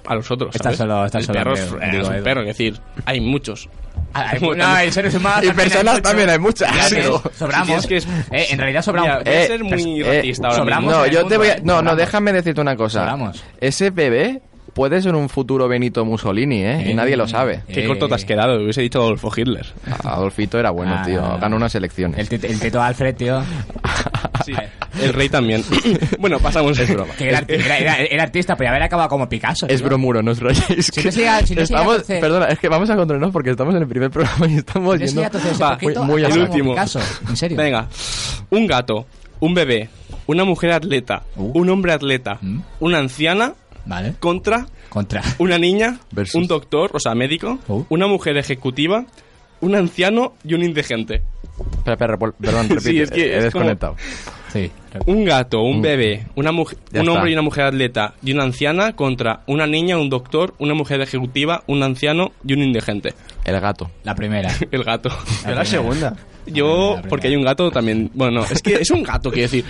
a los otros. Está ¿sabes? solo- está el solo perro Andreu, es, digo, es un Edu. perro, es decir, hay muchos. Ah, hay- no, hay seres humanos. y también hay personas mucho. también hay muchas. Ya ves, Digo, Sobramos. si tienes que- Eh, en realidad sobramos. Mira, voy a ser muy Eh, racista ahora sobramos mismo. No, en el yo te mundo, voy a- ¿eh? No, no, Sobramos. déjame decirte una cosa. Sobramos. Ese bebé puede ser un futuro Benito Mussolini, ¿eh? Eh. Y nadie lo sabe. Eh. Qué corto te has quedado, hubiese dicho Adolfo Hitler. Adolfito era bueno, Ah, tío. no, no. Ganó unas elecciones. El, tit- el Tito Alfred, tío. Sí, el rey también. bueno, pasamos. Es broma. Que era, arti- era- era- era artista, pero ya haber acabado como Picasso. Es tío. bromuro, no os rayéis. Si no se llega- si no se llega a estamos, torcer- perdona, es que vamos a controlarnos porque estamos en el primer programa y estamos Yo yendo soy atroz de ese Va, poquito, muy- muy acabo el como último. Picasso, en serio. Venga, un gato, un bebé, una mujer atleta, Uh. un hombre atleta, Mm. una anciana Vale. contra Contra. una niña, Versus. un doctor, o sea, médico, Uh. una mujer ejecutiva, un anciano y un indigente. Espera, espera, vol- perdón, repite. es que he es desconectado. Sí. Un gato, un bebé, una mujer, Ya un está. hombre y una mujer atleta y una anciana contra una niña, un doctor, una mujer ejecutiva, un anciano y un indigente. El gato. La primera. El gato. Yo la segunda. Yo, primera. porque hay un gato también. Bueno, no, es que es un gato, quiero decir.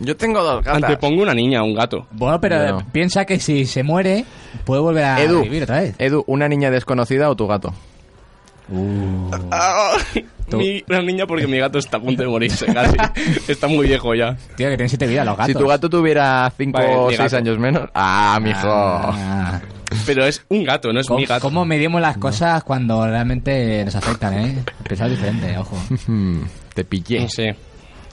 Yo tengo dos Antepongo una niña a un gato. Bueno, pero Yo no. eh, piensa que si se muere, puede volver a Edu, vivir otra vez. Edu, ¿una niña desconocida o tu gato? Ah, mi- una niña porque mi gato está a punto de morirse casi. Está muy viejo ya. Tío, que tiene siete vidas los gatos. Si tu gato tuviera 5 Vale, o mi 6 gato. años menos. Ah, mijo. Ah. Pero es un gato, no es mi ¿Cómo, gato. cómo medimos las cosas cuando realmente nos afectan, eh? Pensar diferente, ojo. Hmm, te pillé. No sé.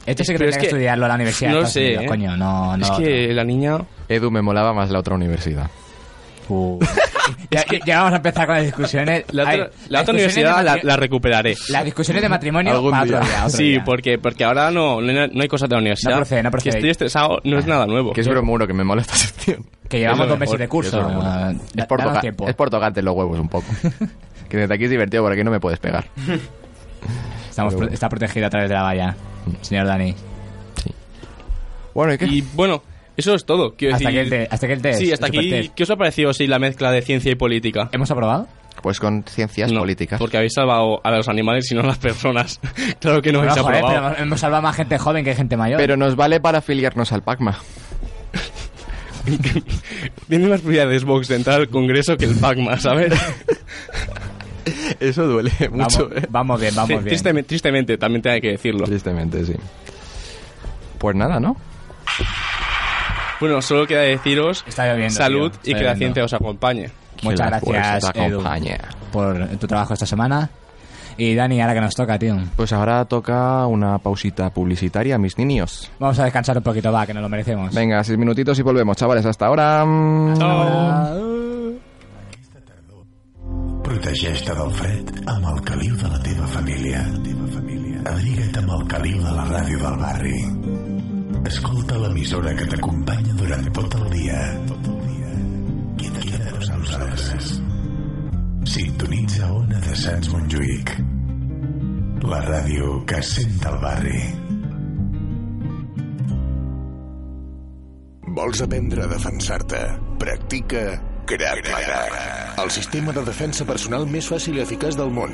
Esto sí que Pero tendría es que, que- estudiarlo en la universidad. de no lo Estados sé, Unidos, eh. coño, no, no. es que la niña. Edu, me molaba más la otra universidad. otro. Uh. ya, ya vamos a empezar con las discusiones. La otra, Ay, la las otra discusiones de universidad la, matri- la recuperaré. Las discusiones de matrimonio Algún para otro día. día, otro sí, día. porque, porque ahora no, no, no hay cosas de la universidad. No procede, no procede. Que estoy estresado, no es nada nuevo. Ah, Que es bromuro, que me mola esta sección. Que llevamos es lo dos meses mejor, de curso. es lo mejor. ah, Es da- por, danos toca- tiempo. es por tocarte los huevos un poco. que desde aquí es divertido, por aquí no me puedes pegar. Estamos pro- está protegido a través de la valla, señor Dani. Bueno, ¿y qué? Y bueno, eso es todo. Quiero Hasta decir- aquí el te- hasta aquí el test, Sí, hasta el aquí. supertest. ¿Qué os ha parecido sí, la mezcla de ciencia y política? ¿Hemos aprobado? Pues con ciencias No, políticas. Porque habéis salvado a los animales y no a las personas. claro que no habéis Bueno, joder, aprobado. pero eh, hemos salvado más gente joven que gente mayor. Pero nos vale para afiliarnos al Pacma. Tiene más prioridades Vox de entrar al Congreso que el Pacma, ¿sabes? Eso duele vamos, mucho, eh. vamos bien, vamos Sí, bien. tristemente, tristemente, también tengo que decirlo. Tristemente, sí. Pues nada, ¿no? Bueno, solo queda deciros Está lloviendo, salud tío, está y que la lloviendo. ciencia os acompañe. Muchas Que la gracias, fuerza te Edu, acompañe. por tu trabajo esta semana. Y Dani, ahora que nos toca, tío. Pues ahora toca una pausita publicitaria, mis niños. Vamos a descansar un poquito, va, que nos lo merecemos. Venga, seis minutitos y volvemos, chavales. Hasta ahora. Protegeix-te del fred amb el caliu de la teva família. La teva família. Abriga't amb el caliu de la ràdio del barri. Escolta l'emissora que t'acompanya durant tot el dia. Tot el dia. Queda't amb nosaltres. Sintonitza Ona de Sants Montjuïc. La ràdio que sent el barri. Vols aprendre a defensar-te? Practica Crack Maga. El sistema de defensa personal més fàcil i eficaç del món.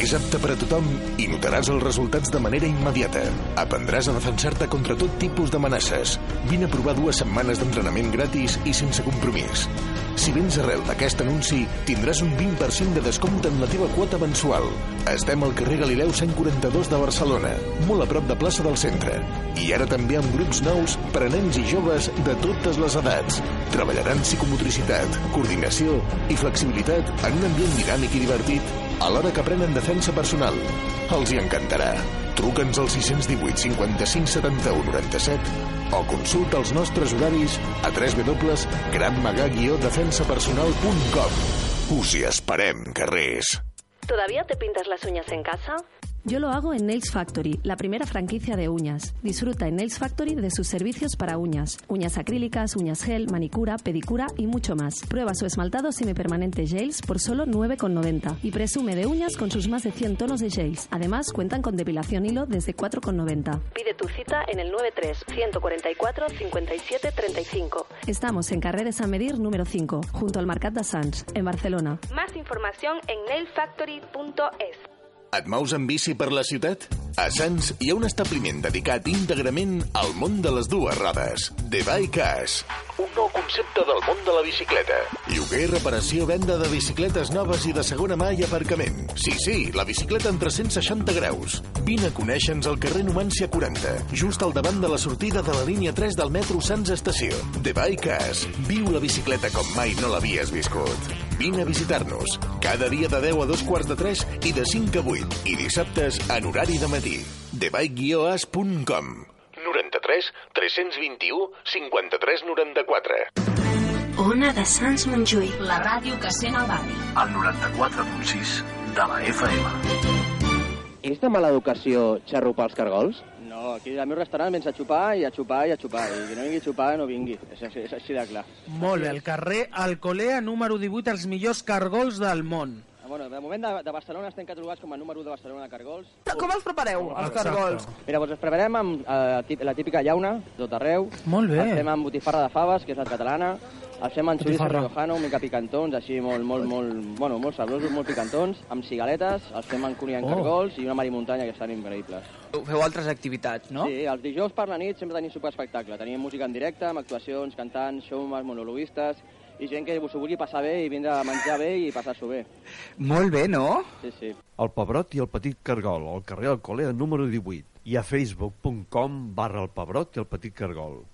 És apte per a tothom i notaràs els resultats de manera immediata. Aprendràs a defensar-te contra tot tipus d'amenaces. Vine a provar dues setmanes d'entrenament gratis i sense compromís. Si vens arrel d'aquest anunci, tindràs un 20% de descompte en la teva quota mensual. Estem al carrer Galileu 142 de Barcelona, molt a prop de plaça del centre. I ara també amb grups nous per a nens i joves de totes les edats. Treballaran psicomotricitat, coordinació i flexibilitat en un ambient dinàmic i divertit alhora que aprenen defensa personal. Els hi encantarà. Truca'ns al 618 55 71 97 o consulta els nostres horaris a www.granmagà-defensapersonal.com Us hi esperem, carrers. ¿Todavía te pintas las uñas en casa? Yo lo hago en Nails Factory, la primera franquicia de uñas. Disfruta en Nails Factory de sus servicios para uñas. Uñas acrílicas, uñas gel, manicura, pedicura y mucho más. Prueba su esmaltado semipermanente gels por solo 9,90 y presume de uñas con sus más de 100 tonos de gels. Además, cuentan con depilación hilo desde 4,90. Pide tu cita en el 93 144 57 35. Estamos en Carreres a Medir número 5, junto al Mercat de Sants, en Barcelona. Más información en nailfactory.es. Et mous en bici per la ciutat? A Sants hi ha un establiment dedicat íntegrament al món de les dues rodes, The Bike Us. Un nou concepte del món de la bicicleta. Lloguer, reparació, venda de bicicletes noves i de segona mà i aparcament. Sí, sí, la bicicleta en 360 graus. Vine a conèixer-nos al carrer Numància 40, just al davant de la sortida de la línia 3 del metro Sants Estació. The Bike Us. Viu la bicicleta com mai no l'havies viscut. Vine a visitar-nos cada dia de 10 a 2 quarts de 3 i de 5 a 8 i dissabtes en horari de matí. thebike-as.com 93 321 53 94 Ona de Sants Montjuïc, la ràdio que sent el barri. El 94.6 de la FM. És de mala educació xarrupar els cargols? No, aquí al meu restaurant vens a xupar i a xupar i a xupar. I qui no vingui a xupar no vingui. És, així- és així de clar. Molt bé, al carrer Alcolea, número 18, els millors cargols del món. Ah, Bueno, de moment de, de Barcelona estem catalogats com a número u de Barcelona de cargols. Com els prepareu, els cargols? Mira, doncs els preparem amb eh, tip- la típica llauna, tot arreu. Molt bé. El fem amb botifarra de faves, que és la catalana. El fem amb xoriço Botifarra. riojano, una mica picantons, així molt, molt, molt, bueno, molt sabrosos, molt picantons, amb cigaletes, els fem amb cunyà amb Oh. cargols i una marimuntanya, que estan increïbles. Feu altres activitats, no? Sí, els dijous per la nit sempre tenim superespectacle. Tenim música en directe, amb actuacions, cantants, showmans, monologuistes i gent que s'ho vulgui passar bé i vindre a menjar bé i passar-s'ho bé. Molt bé, no? Sí, sí. El Pebrot i el Petit Cargol, al carrer Alcolea número 18 i a facebook.com barra el Pebrot i el Petit Cargol.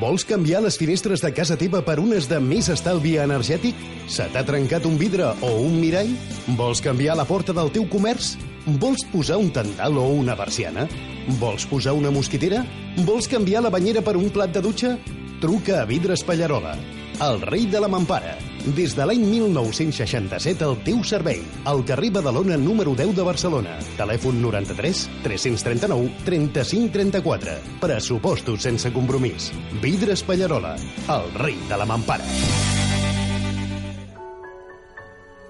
Vols canviar les finestres de casa teva per unes de més estalvi energètic? Se t'ha trencat un vidre o un mirall? Vols canviar la porta del teu comerç? Vols posar un tendal o una persiana? Vols posar una mosquitera? Vols canviar la banyera per un plat de dutxa? Truca a Vidres Pallarola, el rei de la mampara. Des de l'any 1967 al teu servei. Al carrer Badalona número 10 de Barcelona. Telèfon 93 339 35 34. Pressupostos sense compromís. Vidres Pallarola, el rei de la mampara.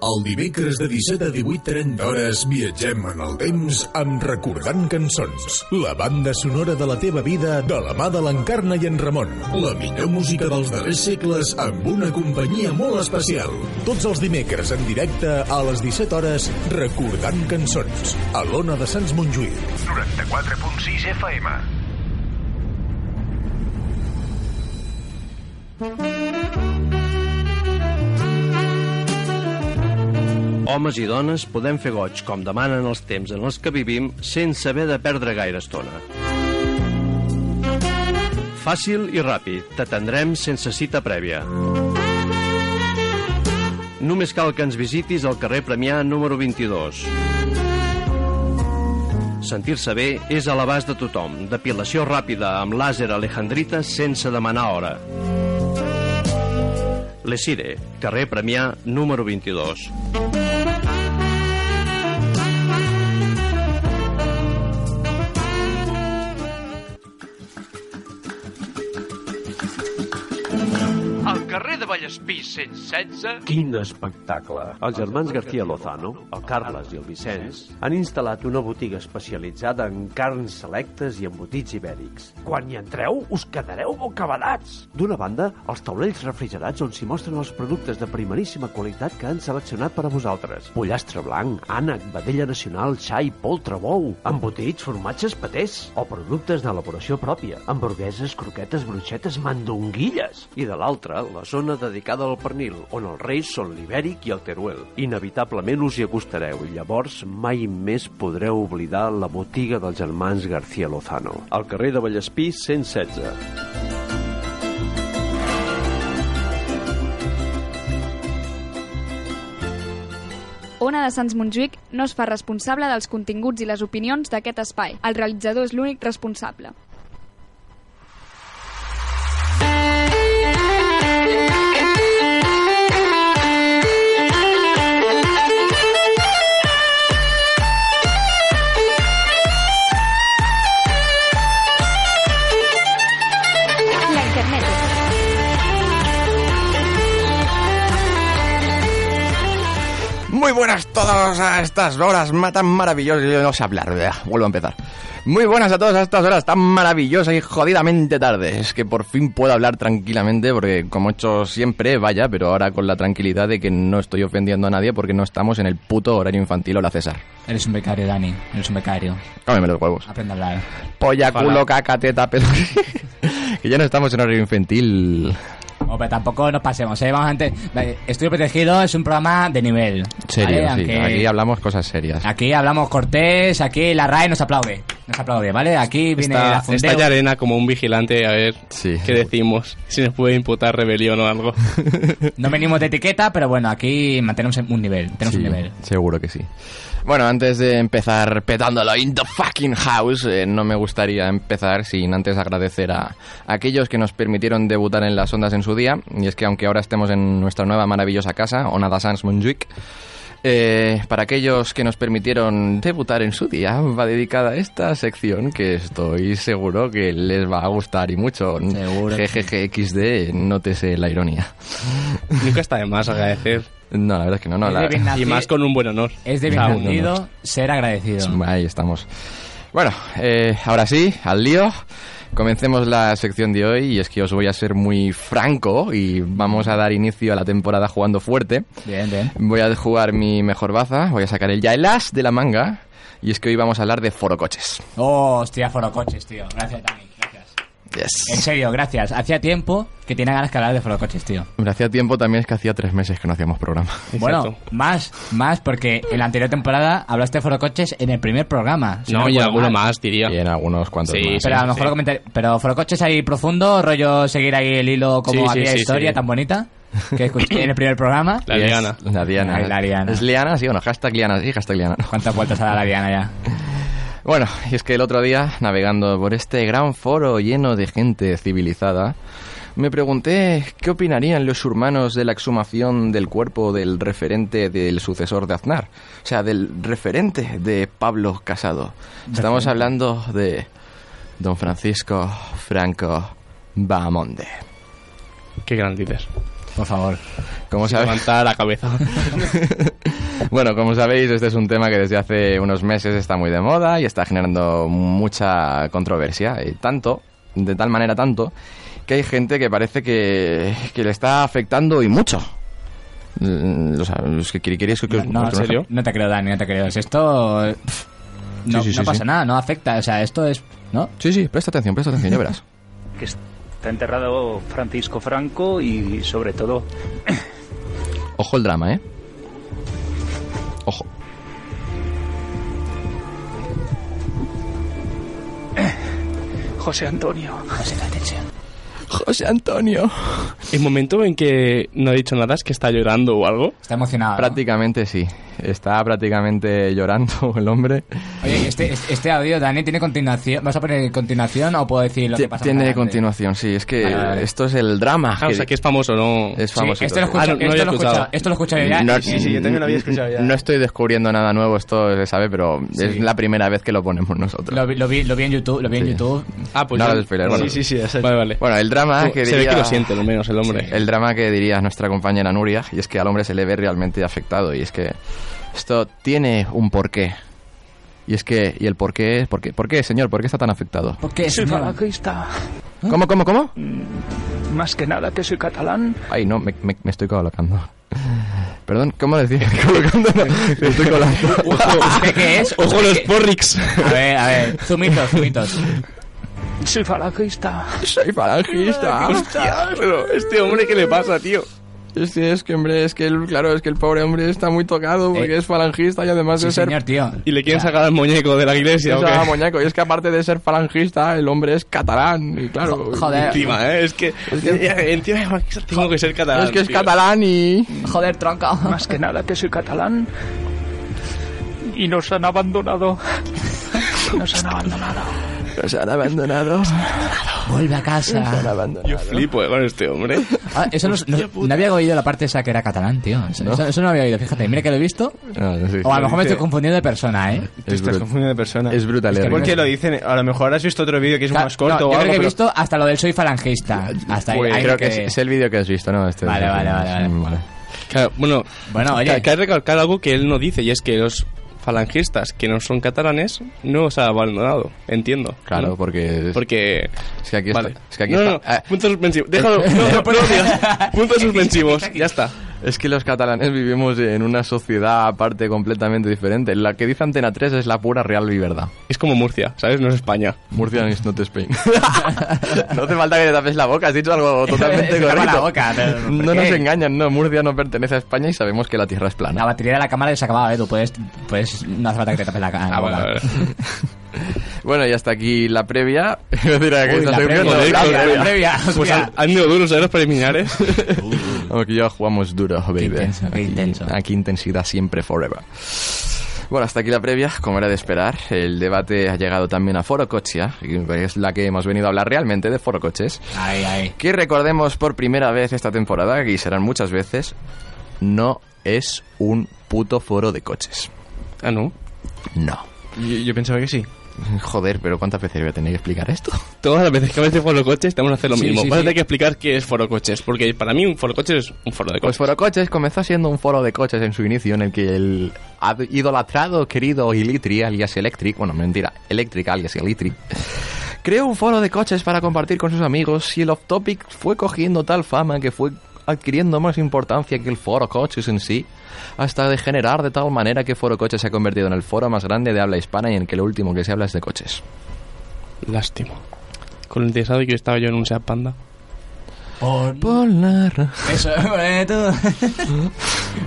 El dimecres de 17 a 18.30 hores viatgem en el temps amb Recordant Cançons, la banda sonora de la teva vida de la mà de l'Encarna i en Ramon. La millor música dels darrers segles amb una companyia molt especial. Tots els dimecres en directe a les 17 hores Recordant Cançons, a l'Ona de Sants Montjuïc. 94.6 FM. Homes i dones podem fer goig, com demanen els temps en els que vivim, sense haver de perdre gaire estona. Fàcil i ràpid, t'atendrem sense cita prèvia. Només cal que ens visitis al carrer Premià número 22. Sentir-se bé és a l'abast de tothom. Depilació ràpida amb làser alejandrita sense demanar hora. Lesire, carrer Premià número 22. Al carrer de Vallès Granollers Pis 116 Quin espectacle! Els germans García Lozano, el Carles i el Vicenç, han instal·lat una botiga especialitzada en carns selectes i embotits ibèrics. Quan hi entreu, us quedareu bocabadats! D'una banda, els taulells refrigerats on s'hi mostren els productes de primeríssima qualitat que han seleccionat per a vosaltres. Pollastre blanc, ànec, vedella nacional, xai, poltre, bou, embotits, formatges, patés o productes d'elaboració pròpia, hamburgueses, croquetes, bruixetes, mandonguilles. I de l'altra, la zona dedicada al pernil, on els reis són l'Ibèric i el Teruel. Inevitablement us hi acostareu i llavors mai més podreu oblidar la botiga dels germans García Lozano. Al carrer de Vallespí, 116. Ona de Sants Montjuïc no es fa responsable dels continguts i les opinions d'aquest espai. El realitzador és l'únic responsable. La internet. Muy buenas todos a estas horas ma- tan maravillosas. Yo no sé hablar, ¿verdad? vuelvo a empezar. Muy buenas a todos a estas horas tan maravillosas y jodidamente tarde. Es que por fin puedo hablar tranquilamente, porque como he hecho siempre, vaya, pero ahora con la tranquilidad de que no estoy ofendiendo a nadie porque no estamos en el puto horario infantil o la César. Eres un becario, Dani. Eres un becario. Cámeme los huevos. Aprende a hablar. Polla, culo, caca, teta, pelo. que ya no estamos en horario infantil. Hombre, tampoco nos pasemos, ¿eh? Vamos antes. Vale, Estudio Protegido es un programa de nivel. Serio, ¿vale? sí. Aunque- Aquí hablamos cosas serias. Aquí hablamos cortés, aquí la RAE nos aplaude. Nos aplaude, ¿vale? Aquí viene la Está, fundeo. está Yarena como un vigilante a ver qué decimos, si nos puede imputar rebelión o algo. No venimos de etiqueta, pero bueno, aquí mantenemos un nivel. Tenemos un Sí, nivel. Seguro que sí. Bueno, antes de empezar petándolo in the fucking house, eh, no me gustaría empezar sin antes agradecer a aquellos que nos permitieron debutar en las ondas en su día. Y es que aunque ahora estemos en nuestra nueva maravillosa casa, Onada Sans Montjuic, eh, para aquellos que nos permitieron debutar en su día, va dedicada a esta sección que estoy seguro que les va a gustar y mucho. Seguro. GGGXD, nótese la ironía. Nunca está de más agradecer. No, la verdad es que no. no Es de la- bien nacido- Y más con un buen honor. Es de bien Ah, un nacido honor. ser agradecido. Ahí estamos. Bueno, eh, ahora sí, al lío. Comencemos la sección de hoy y es que os voy a ser muy franco y vamos a dar inicio a la temporada jugando fuerte. Bien, bien. Voy a jugar mi mejor baza, voy a sacar el ya el as de la manga y es que hoy vamos a hablar de forocoches. Oh, hostia, forocoches, tío. Gracias, Dani. Gracias. En serio, gracias. Hacía tiempo que tenía ganas que hablar de forocoches, tío. Hombre, hacía tiempo también es que hacía tres meses que no hacíamos programa. Bueno, más, más, porque en la anterior temporada hablaste de forocoches en el primer programa. si No, y recuerdo alguno mal. más, diría. Y en algunos cuantos ¿eh? sí, Pero a sí, lo mejor sí. lo comentaré. Pero forocoches ahí profundo, rollo seguir ahí el hilo como Sí, sí, aquella sí, historia sí. tan bonita que escuché en el primer programa. Y es La Diana. Ay, la Diana. ¿Es Liana? Sí, bueno, hashtag Liana, sí, hashtag Liana. ¿Cuántas vueltas ha dado la Diana ya? Bueno, y es que el otro día, navegando por este gran foro lleno de gente civilizada, me pregunté qué opinarían los urbanos de la exhumación del cuerpo del referente del sucesor de Aznar. O sea, del referente de Pablo Casado. Estamos Referente. hablando de don Francisco Franco Bahamonde. Qué gran líder. Por favor. Como sabéis... Levanta la cabeza. Bueno, como sabéis, este es un tema que desde hace unos meses está muy de moda y está generando mucha controversia. eh, tanto, de tal manera tanto, que hay gente que parece que, que le está afectando y mucho. Mm, O sea, los que queréis que os- No, os- No te creo, Dani, no te creo. Si esto. pff, No, Sí, sí, no sí, pasa sí. nada, no afecta. O sea, esto es. ¿No? Sí, sí, presta atención, presta atención, ya verás. que está enterrado Francisco Franco y sobre todo Ojo el drama, ¿eh? Ojo. José Antonio. José Antonio. El momento en que no ha dicho nada es que está llorando o algo. Está emocionado. Prácticamente sí. Está prácticamente llorando el hombre. Oye, este, este audio, Dani, ¿tiene continuación? ¿Vas a poner continuación o puedo decir lo que Ti- pasa? Tiene más adelante? continuación, sí. Es que Vale, vale. Ah, esto es el drama. Ah, o sea, que es famoso, ¿no? Es Sí, famoso. esto lo escucha- esto lo escucha- esto lo escucha yo ya. No, Sí, sí, yo también lo había escuchado ya. No estoy descubriendo nada nuevo, esto se sabe, pero es Sí. la primera vez que lo ponemos nosotros. Lo, vi- lo vi, lo vi en YouTube, lo vi en YouTube. Ah, pues no, el spoiler, bueno. Sí, sí, sí. Vale, vale. Bueno, el drama drama Se Ah, que ve diría... que lo siente, lo menos, el hombre. Sí, el drama que diría nuestra compañera Nuria, y es que al hombre se le ve realmente afectado, y es que esto tiene un porqué. Y es que, y el porqué es, ¿por qué, por qué señor? ¿Por qué está tan afectado? Porque soy falangista. ¿Cómo, cómo, cómo? Más que nada que soy catalán. Ay, no, me, me- me estoy colocando. Perdón, ¿cómo decía? Colocando, no, me estoy colando. ¿Qué, qué es? Ojo los porrix. A ver, a ver. Zumitos, zumitos. Soy falangista. Soy falangista. Hostia, pero este hombre, ¿qué le pasa, tío? Este es que, hombre, es que el, claro, es que el pobre hombre está muy tocado porque es falangista y además de ser... tío. Y le quieren sacar al muñeco de la iglesia, es ¿o qué? a muñeco. Y es que aparte de ser falangista, el hombre es catalán. Y claro... Encima, ¿eh? Es que... que- Encima, tengo que ser catalán. es que es tío. catalán y... Joder, tronca. Más que nada que soy catalán. Y nos han abandonado. Nos han abandonado. Nos han abandonado. Vuelve a Nos han casa. abandonado. Yo flipo eh, con este hombre. Ah, eso no, no- no había oído la parte esa que era catalán, tío. Eso eso- eso no, había oído, fíjate. Mira que lo he visto. O a lo mejor me estoy confundiendo de persona, ¿eh. Te estás confundiendo de persona. Es brutal. eh. ¿Por qué lo dicen? A lo mejor has visto otro vídeo que es Claro, más corto no, o yo algo, creo que he pero- visto hasta lo del soy falangista. Hasta ahí- Pues ahí creo me que es, quedé. es el vídeo que has visto, ¿no? Este- Vale, vale, vale, vale. Mm, Claro, bueno, Bueno, oye. ca- cabe recalcar algo que él no dice y es que los falangistas que no son catalanes no os han abandonado, entiendo. Claro, ¿no? porque... Porque... Es que aquí Vale. está... Es que aquí no, no, está- Ah, Ah. no, puntos suspensivos. Déjalo. No, no, no digas. Puntos suspensivos. Ya está. Es que los catalanes vivimos en una sociedad aparte completamente diferente. La que dice Antena 3 es la pura real y verdad. Es como Murcia, ¿sabes? No es España. Murcia es not Spain. no hace falta que te tapes la boca, has dicho algo totalmente Se tapa correcto. la boca, pero, ¿por no nos qué? engañan, no, Murcia no pertenece a España y sabemos que la tierra es plana. La batería de la cámara se acababa, Edu. Puedes, puedes, no hace falta que te tapes la cara. Ah, vale, vale. Bueno, y hasta aquí la previa. Iba a decir, aquí Uy, esta la sección, previa, no, joder, la con- previa. Pues han, han ido duros ¿eh? los preliminares. Vamos, que ya jugamos duro, baby. intenso, qué Aquí- intenso. Aquí intensidad siempre, forever. Bueno, hasta aquí la previa, como era de esperar. El debate ha llegado también a Foro Cochia, y es la que hemos venido a hablar realmente de Foro Coches. Ay, ay. Que recordemos por primera vez esta temporada, y serán muchas veces, no es un puto foro de coches. Ah, ¿no? No. Yo, yo pensaba que sí. Joder, pero ¿cuántas veces voy a tener que explicar esto? Todas las veces que hables de forocoches tenemos que hacer lo Sí, mismo. sí, Vas a sí. tener que explicar qué es forocoches, porque para mí un forocoches es un foro de Pues coches. Foro Coches comenzó siendo un foro de coches en su inicio, en el que el ad- idolatrado, querido Ilitri, alias Electric, bueno, mentira, Electric, alias Ilitri, creó un foro de coches para compartir con sus amigos y el off-topic fue cogiendo tal fama que fue adquiriendo más importancia que el foro coches en sí, hasta degenerar de tal manera que Foro Coches se ha convertido en el foro más grande de habla hispana y en el que lo último que se habla es de coches. Lástima. Con lo interesado que estaba yo en un Seat Panda. Por... Polar. Eso, eh, tú. bueno,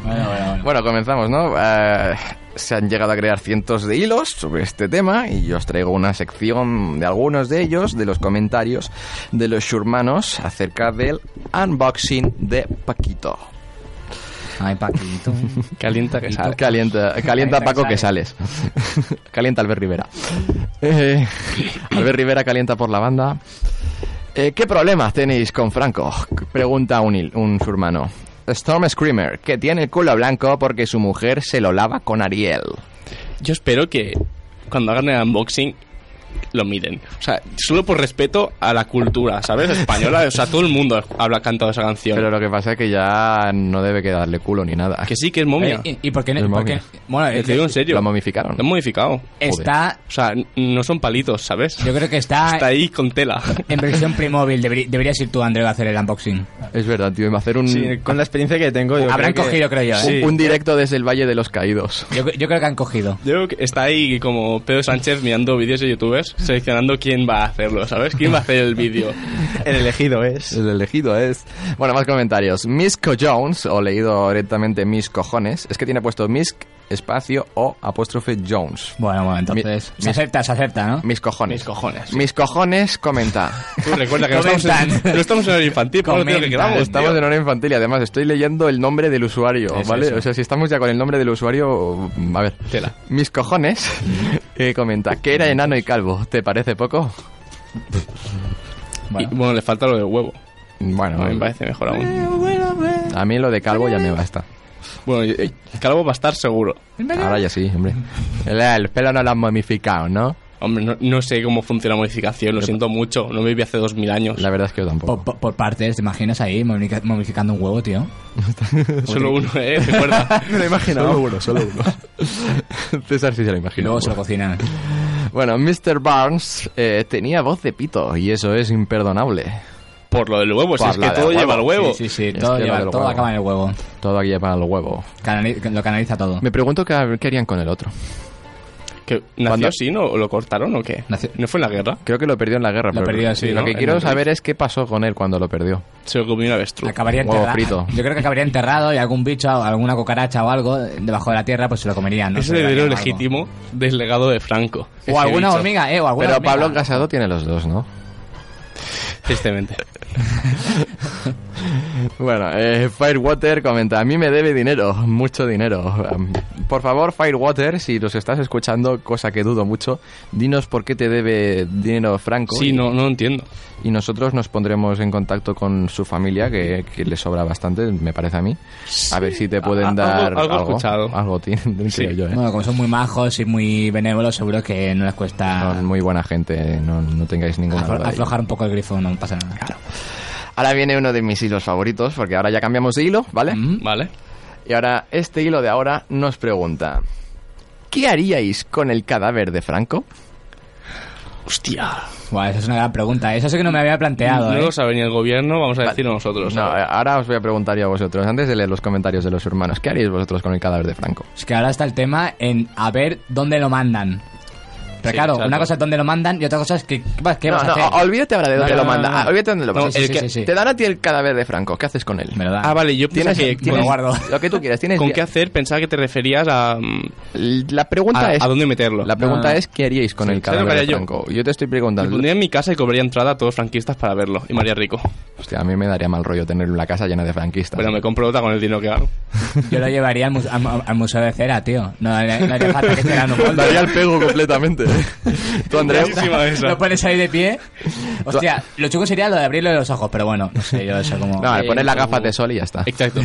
bueno, bueno. Bueno, comenzamos, ¿no? Eh, se han llegado a crear cientos de hilos sobre este tema y yo os traigo una sección de algunos de ellos, de los comentarios de los churmanos acerca del unboxing de Paquito. Ay, Paquito. Calienta que sale. Calienta, calienta Paco que sales. calienta Albert Rivera. Eh, Albert Rivera calienta por la banda. Eh, ¿Qué problemas tenéis con Franco? Pregunta un, hil- un surmano. Storm Screamer, que tiene el culo blanco porque su mujer se lo lava con Ariel. Yo espero que cuando hagan el unboxing lo miren. O sea, solo por respeto a la cultura, ¿sabes? Española. O sea, todo el mundo habla cantado esa canción. Pero lo que pasa es que ya no debe quedarle culo ni nada. que sí, que es momia. Eh, ¿Y, y por qué no? Es por qué- momia. Bueno, Te digo en serio. Lo momificaron. eh, Lo han modificado. Está- O sea, n- no son palitos, ¿sabes? yo creo que está, Está ahí con tela. en versión Playmobil. Deberi- deberías ir tú, Andreu, a hacer el unboxing. Es verdad, tío. Hacer un, Eh, Sí, con la experiencia que tengo. yo Habrán creo que- cogido, creo yo, ¿eh? Sí. un directo desde el Valle de los Caídos. Yo, yo creo que han cogido. Yo creo que está ahí como Pedro Sánchez mirando vídeos de youtubers, seleccionando quién va a hacerlo, ¿sabes? ¿Quién va a hacer el vídeo? El elegido es. El elegido es. Bueno, más comentarios. Misco Jones, o leído directamente Mis Cojones, es que tiene puesto Misc, espacio o apóstrofe Jones. Bueno, bueno, entonces. Mi- se acepta, se acepta, ¿no? Mis cojones. Mis cojones. Mis cojones comenta. Tú recuerda que no estamos, en, Comentan. no estamos en el infantil, por lo que Comentan. quedamos. Estamos tío. en hora infantil y además estoy leyendo el nombre del usuario, Eso, ¿vale? eso. O sea, si estamos ya con el nombre del usuario, a ver. Tela. Mis cojones eh, comenta que era enano y calvo. ¿Te parece poco? Y, bueno, le falta lo del huevo. Bueno, eh, A mí me parece mejor aún. a mí lo de calvo ya me basta. Bueno, y- y calvo va a estar seguro. Ahora ya sí, hombre. El, el pelo no lo han momificado, ¿no? Hombre, no, no sé cómo funciona la modificación, lo siento mucho, no viví hace 2000 años. La verdad es que yo Por, por- por partes, ¿te imaginas ahí momica- momificando un huevo, tío? Solo uno, eh, recuerda. Me lo he imaginado. Solo uno, solo uno. César sí se lo imagina. Luego se lo cocinan. Bueno, Mr. Barnes eh, tenía voz de pito y eso es imperdonable. Por lo del huevo, si Por es la que del todo lleva el huevo. Sí, sí, sí, todo, que lleva- lo del todo huevo. acaba en el huevo. Todo aquí para el huevo. Canali- lo canaliza todo. Me pregunto qué, qué harían con el otro. ¿Que ¿Nació así, no? ¿Lo cortaron o qué? ¿No fue en la guerra? Creo que lo perdió en la guerra. Lo perdió, sí, Lo ¿no? que En quiero el- saber es qué pasó con él cuando lo perdió. Se lo comió una avestruz. Acabaría Huevo enterrado. frito. Yo creo que acabaría enterrado y algún bicho, o alguna cucaracha o algo debajo de la tierra, pues se lo comerían. ¿no? es Se el lo heredero darían algo. legítimo del legado de Franco. O alguna hormiga, eh, o alguna Pero hormiga. Pablo Casado tiene los dos, ¿no? Tristemente. Bueno, eh, Firewater comenta, a mí me debe dinero, mucho dinero. Am, Por favor, Firewater, si los estás escuchando, cosa que dudo mucho, dinos por qué te debe dinero Franco. Sí, no, no entiendo. Y nosotros nos pondremos en contacto con su familia, que, que le sobra bastante, me parece a mí. A ver si te a- pueden algo- dar algo he escuchado. Algo tienen, creo yo, ¿eh? Bueno, como son muy majos y muy benévolos, seguro que no les cuesta Son muy buena gente, no, no tengáis ninguna aflo- duda. de ello. aflojar un poco el grifo, no pasa nada. Ahora viene uno de mis hilos favoritos, porque ahora ya cambiamos de hilo, ¿vale? Vale. Y ahora, este hilo de ahora nos pregunta: ¿Qué haríais con el cadáver de Franco? Hostia. Buah, esa es una gran pregunta. Eso sí que no me había planteado, no ¿eh? lo sabe ni el gobierno, vamos a decirlo nosotros. No, eh, ahora os voy a preguntar yo a vosotros, antes de leer los comentarios de los hermanos, ¿qué haríais vosotros con el cadáver de Franco? Es que ahora está el tema en a ver dónde lo mandan. Pero Sí, claro, exacto. una cosa es dónde lo mandan y otra cosa es que, ¿qué, vas- qué No, vas no, a hacer? o- olvídate ahora de No, dónde lo no, no, mandan. no, no. Ah, olvídate dónde lo No, mandan. el Sí, que- sí, sí, sí. Te dan a ti el cadáver de Franco, ¿qué haces con él? Ah, vale, yo Tienes- pensaba que... tienes- con- Lo que tú quieras, tienes ¿Con die- qué hacer? Pensaba que te referías a... mm, La pregunta Ah, a, Ah, es- ¿A dónde meterlo? La pregunta es, ¿qué haríais con Sí, el ¿sabes lo que cadáver de haría yo? Franco? Yo te estoy Me preguntando. pondría en mi casa y cobraría entrada a todos franquistas para verlo. Y María Rico. Hostia, a mí me daría mal rollo tener una casa llena de franquistas. Pero me compro otra con el dinero que gano. Yo lo llevaría al, mu- al- al Museo de Cera, tío. No, no haría falta que te hagan un golpe. Daría el pego completamente. Tú, Andreu. Lo pones ahí de pie. Hostia, lo chulo sería lo de abrirlo de los ojos, pero bueno, no sé, yo eso como... No, le pones las la gafa gafas de sol y ya está. Exacto.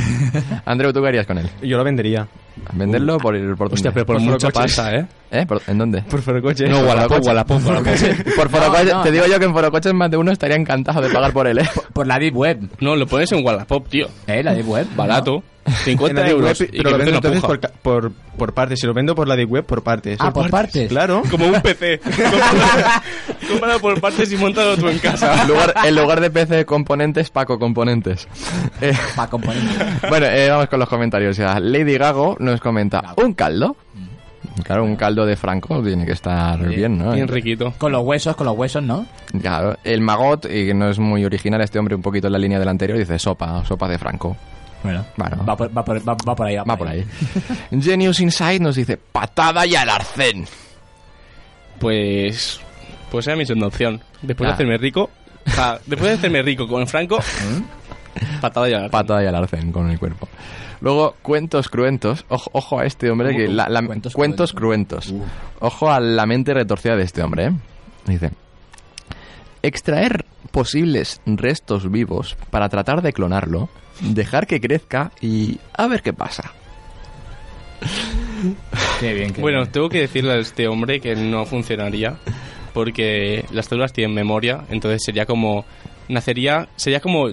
Andreu, ¿tú qué harías con él? Yo lo vendería. ¿Venderlo por el por Hostia, pero por mucha pasa, ¿eh? ¿Eh? ¿Por- ¿En dónde? Por Forocoche. No, Wallapop, Wallapop, Wallapop. Por Forocoche. No, no, te digo no. yo que en Forocoches más de uno estaría encantado de pagar por él, ¿eh? Por la Deep Web. No, lo pones en Wallapop, tío. ¿Eh? La Deep Web. Barato. En la 50 Deep euros. Web, y pero que lo vendo vende una entonces puja. por, ca- por, por partes. Si lo vendo por la de web, por partes. Ah, por partes. Claro. Como un PC. Cómpralo por partes y montalo tú en casa. En lugar, en lugar de PC componentes, Paco componentes. Eh, Pa' componer. bueno, eh, vamos con los comentarios. ya. Lady Gago nos comenta, ¿un caldo? Claro, un caldo de Franco tiene que estar bien, ¿no? Bien riquito. Con los huesos, con los huesos, ¿no? Claro, el magot, y que no es muy original, este hombre un poquito en la línea del anterior, dice sopa, sopa de Franco. Bueno, Bueno. Va, por, va, por, va, va por ahí. Va, Va por ahí. Genius Inside nos dice, patada y al arcén. Pues. Pues era mi segunda opción. Después Ah. de hacerme rico. pa- después de hacerme rico con Franco. patada ya. Patada y al arcén con el cuerpo. Luego, cuentos cruentos. Ojo, ojo a este hombre que... la- la- cuentos, cruentos. Ojo a la mente retorcida de este hombre, ¿eh? Dice, extraer posibles restos vivos para tratar de clonarlo, dejar que crezca y a ver qué pasa. Qué bien, qué Bueno, bien. tengo que decirle a este hombre que no funcionaría. Porque las células tienen memoria. Entonces sería como. Nacería. Sería como.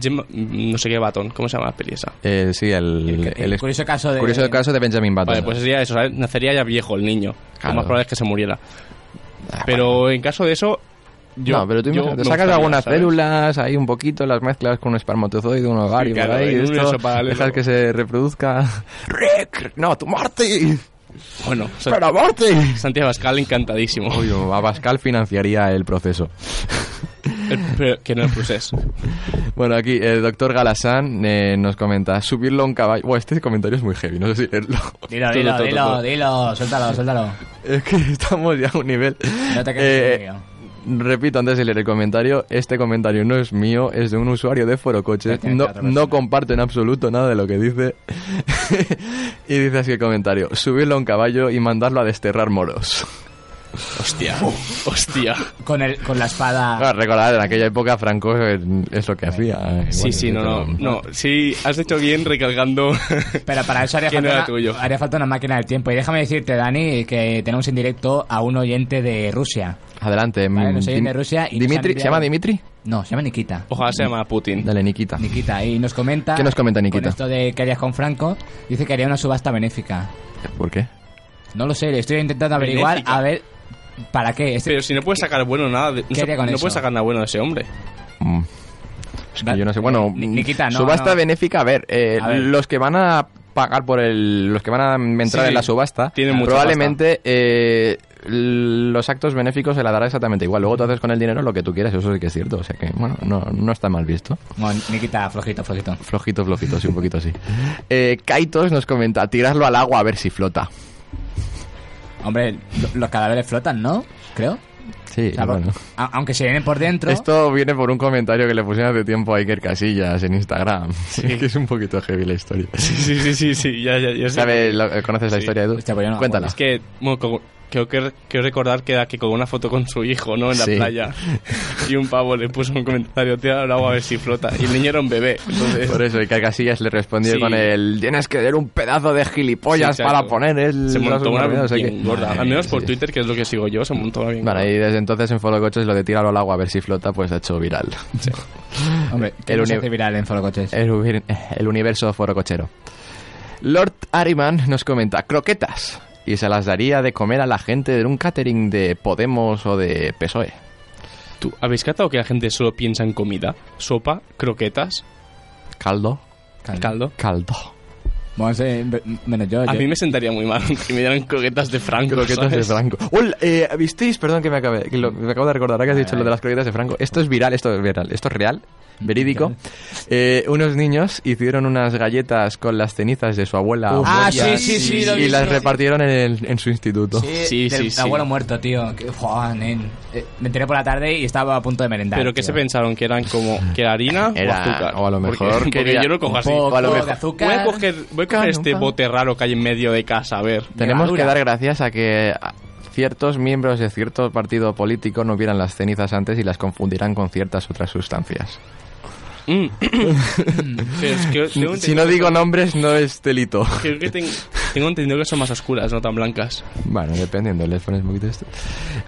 Jim- no sé qué batón. ¿Cómo se llama la peli esa? Eh, sí, el, el- el curioso caso de- curioso caso de Benjamin Button. Vale, pues sería eso, ¿sabes? Nacería ya viejo el niño. Claro. Lo más probable es que se muriera. Ah, Pero en caso de eso, yo. no, pero tú yo imagínate, me sacas gustaría, algunas ¿sabes? células, ahí un poquito, las mezclas con un espermatozoide, un ovario, Sí, claro, por ahí, en un esto, universo paralelo. dejas que se reproduzca. ¡Rick! ¡No, tu Marty! Bueno, o sea, ¡Pero Marty! Santiago Pascal encantadísimo. Uy, a Pascal financiaría el proceso. El- pero que no el proceso. Bueno, aquí el doctor Galasán eh, nos comenta, subirlo a un caballo... Buah, este comentario es muy heavy, no sé si leerlo. Dilo, Todo, dilo, todo, dilo, todo. dilo. Suéltalo, suéltalo. Es que estamos ya a un nivel... No te quedes Eh, conmigo. Repito antes de leer el comentario, este comentario no es mío, es de un usuario de Forocoche. Gracias, No, otra persona. no comparto en absoluto nada de lo que dice. y dice así el comentario, subirlo a un caballo y mandarlo a desterrar moros. Hostia, hostia. Con, el, con la espada. Claro, recordad, en aquella época Franco eh, es lo que hacía. eh, Sí, bueno, sí, no, no, no. Sí, has hecho bien recalcando. Pero para eso haría que no falta, era una, tuyo. haría falta una máquina del tiempo. Y déjame decirte, Dani, que tenemos en directo a un oyente de Rusia. Adelante. mm, Vale, nos oyen Dim- de Rusia y nos han Dimitri, ¿se enviado- llama Dimitri? No, se llama Nikita. Ojalá se llama Putin. Dale, Nikita. Nikita, y nos comenta. Oh. ¿Qué nos comenta con Nikita? esto de que harías con Franco, dice que haría una subasta benéfica. ¿Por qué? No lo sé, le estoy intentando averiguar Benéfica. a ver para qué. Este- Pero si no puedes sacar bueno nada. De, no ¿Qué haría con no eso? puedes sacar nada bueno de ese hombre. Mm. Es que yo no sé. Bueno, Nikita, no, subasta no. benéfica, a ver, eh, A ver. los que van a pagar por el. los que van a entrar Sí, en la subasta, tienen mucha probablemente eh, l- los actos benéficos se la dará exactamente igual. Luego tú haces con el dinero lo que tú quieras, eso sí que es cierto. O sea que, bueno, no, no está mal visto. Bueno, Nikita, flojito, flojito. Flojito, flojito, sí, un poquito así. Eh, Kaitos nos comenta: tirarlo al agua a ver si flota. Hombre, lo- los cadáveres flotan, ¿no? Creo. Sí, O sea, bueno. a- aunque se vienen por dentro. Esto viene por un comentario que le pusieron hace tiempo a Iker Casillas en Instagram. Es que es un poquito heavy la historia. Sí, sí, sí, sí. Ya, ya, ya sé. ¿Sabes? lo- eh, ¿Conoces la historia de Edu? pues Cuéntala. Es que, bueno, co- creo que quiero recordar que era que con una foto con su hijo, ¿no? En la Sí. playa. Y un pavo le puso un comentario, tira al agua a ver si flota. Y el niño era un bebé. Entonces, Por eso, Iker Casillas le respondió Sí. con el tienes que dar un pedazo de gilipollas Sí, exacto. para poner el... Se montó una no sé bien qué". gorda. Al menos por Sí. Twitter, que es lo que sigo yo, se montó una bien Bueno, gorda. y desde entonces en Foro Coches lo de tirarlo al agua a ver si flota, pues ha hecho viral. Hombre, El el uni- viral en Forocoches. El, uni- el universo Foro Cochero. Lord Ariman nos comenta, croquetas. Y se las daría de comer a la gente de un catering de Podemos o E. de PSOE. ¿Tú habéis catado que la gente solo piensa en comida? ¿Sopa? ¿Croquetas? Caldo. ¿Caldo? Caldo. Vamos a ver, menos yo. A yo- mí me sentaría muy mal que me dieran croquetas de Franco. Croquetas de ¿sabes? Franco. Hola, eh, ¿Visteis? Perdón que me, acabé, que lo- me acabo de recordar ahora que has dicho lo de las croquetas de Franco. Esto es viral, esto es viral, esto es real, verídico. Eh, unos niños hicieron unas galletas con las cenizas de su abuela. Ah, muerta sí, sí, sí, y- lo he Y visto, las sí. repartieron en, el- en su instituto. Sí, del abuelo muerto, tío. Que, Buah, nen. Eh, me enteré por la tarde y estaba a punto de merendar. Pero que tío. se pensaron que eran como que era harina Era- o azúcar. o a lo mejor porque, porque quería yo lo cojo un así. poco O a lo de mejor- azúcar. Voy a coger, voy a coger este bote raro que hay en medio de casa, a ver. Tenemos que dar gracias a que a- ciertos miembros de cierto partido político no vieran las cenizas antes y las confundirán con ciertas otras sustancias. Mm. Pero es que tengo Si entendido no que- digo nombres, no es delito. Creo que ten- tengo entendido que son más oscuras, no tan blancas. Bueno, dependiendo, les pones un poquito esto.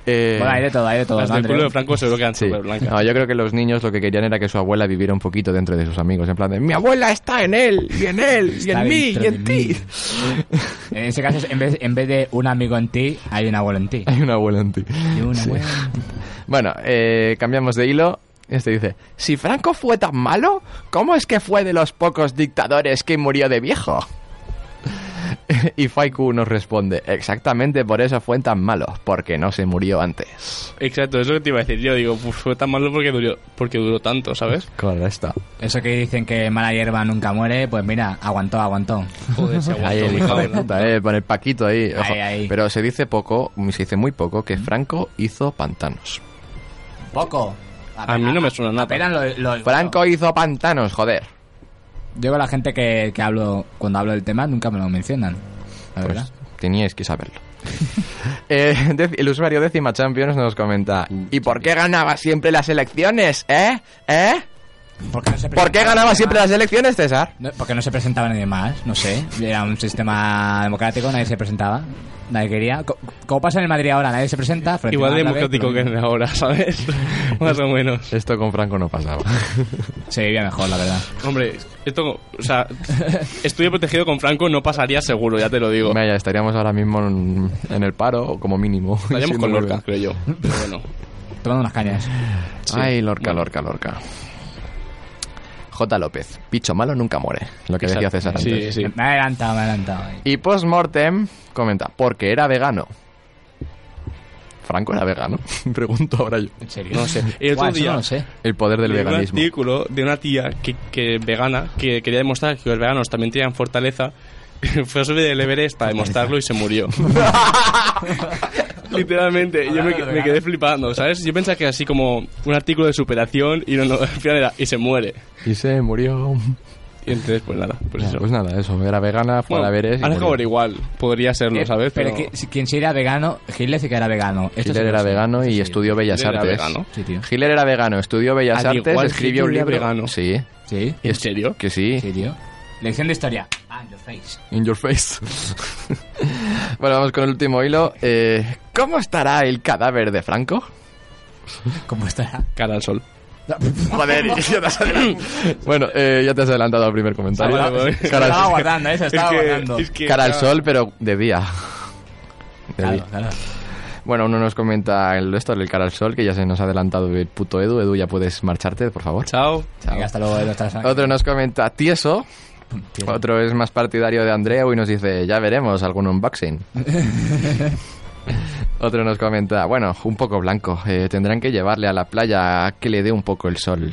Eh, Bueno, hay de todo, hay de todo. Las ¿no, del Andreu? culo de Franco seguro que eran Sí. súper blancas. No, yo creo que los niños lo que querían era que su abuela viviera un poquito dentro de sus amigos. En plan de, mi abuela está en él, y en él, y Está en mí, dentro y en de mí. ti. En ese caso, en vez, en vez de un amigo en ti, hay un abuelo en ti. Hay una abuela en ti. Y un Sí. abuelo. Bueno, eh, cambiamos de hilo. Este dice, si Franco fue tan malo, ¿cómo es que fue de los pocos dictadores que murió de viejo? y Faiku nos responde, exactamente por eso fue tan malo, porque no se murió antes. Exacto, es lo que te iba a decir. Yo digo, pues fue tan malo porque duró, porque duró tanto, ¿sabes? Correcto. Eso que dicen que mala hierba nunca muere, pues mira, aguantó, aguantó. Joder, se Ahí el hijo de puta, eh, con el Paquito ahí. Mm. Ojo. Ahí, ahí. Pero se dice poco, se dice muy poco, que Franco hizo pantanos. Poco. A mí no me suena nada. Apenas lo, lo- Franco hizo pantanos, joder. Yo con la gente que, que hablo, cuando hablo del tema, nunca me lo mencionan. La Pues, verdad. teníais que saberlo. Eh, dec- el usuario décima Champions nos comenta ¿Y por qué ganaba siempre las elecciones? ¿Eh? ¿Eh? Porque no se ¿Por qué presentaba ganaba nadie siempre más. las elecciones, César? No, porque no se presentaba nadie más, no sé. Era un sistema democrático, nadie se presentaba. Nadie quería. Co- Como pasa en el Madrid ahora, nadie se presenta. Florentino pues, Igual de Mata, democrático Florentino- que en ahora, ¿sabes? Más o menos. Esto con Franco no pasaba. Se vivía mejor, la verdad. Hombre, esto, o sea, estudio protegido con Franco no pasaría seguro, ya te lo digo. Vaya, estaríamos ahora mismo en, en el paro, o como mínimo. Estaríamos con Siendo Lorca, creo yo. Pero bueno. Tomando unas cañas. Ay, Lorca, Lorca, Lorca. J. López, picho malo nunca muere. Lo que decía César Sí, antes. sí. Me he adelantado, me he adelantado. Y post-mortem comenta, porque era vegano. ¿Franco era vegano? Pregunto ahora yo. En serio. No sé. El otro Guau, eso día- no lo sé. El poder del Leí veganismo. un artículo de una tía que, que vegana que quería demostrar que los veganos también tenían fortaleza. Fue a subir el Everest para demostrarlo y se murió. Literalmente, yo me, Hablando de me quedé flipando, ¿sabes? Yo pensaba que así como un artículo de superación y no, no, al final era y se muere. Y se murió. Y entonces, pues nada, pues Ya, eso. Pues nada, eso. Era vegana, fue Bueno, a la Veres. han acabado igual. Podría serlo, Eh, ¿sabes? Pero, que- si- quien sí era vegano, Hitler sí que era vegano. Esto sí Hitler que era lo sé. vegano y estudió Bellas Hitler era Artes. vegano. Sí, tío. Hitler era vegano, estudió Bellas Al Artes, igual escribió un Hitler libro. vegano. Sí. ¿Sí? ¿En serio? Que sí. Sí, tío. Lección de historia. Ah, your face. In your face. bueno, vamos con el último hilo. Eh, ¿Cómo estará el cadáver de Franco? ¿Cómo estará? Cara al sol. Joder, ya te has adelantado. bueno, eh, ya te has adelantado al primer comentario. Estaba- Cara al- se estaba guardando, eh, se estaba Es que- guardando. es que- Cara al sol, pero de día. De día. Bueno, uno nos comenta el esto del cara al sol, que ya se nos ha adelantado el puto Edu. Edu, ya puedes marcharte, por favor. Chao. Venga, hasta luego. Edu, hasta la semana que Otro nos comenta Tieso. Tieso. Otro es más partidario de Andreu y nos dice, ya veremos algún unboxing. Otro nos comenta, bueno, un poco blanco. eh, tendrán que llevarle a la playa a que le dé un poco el sol.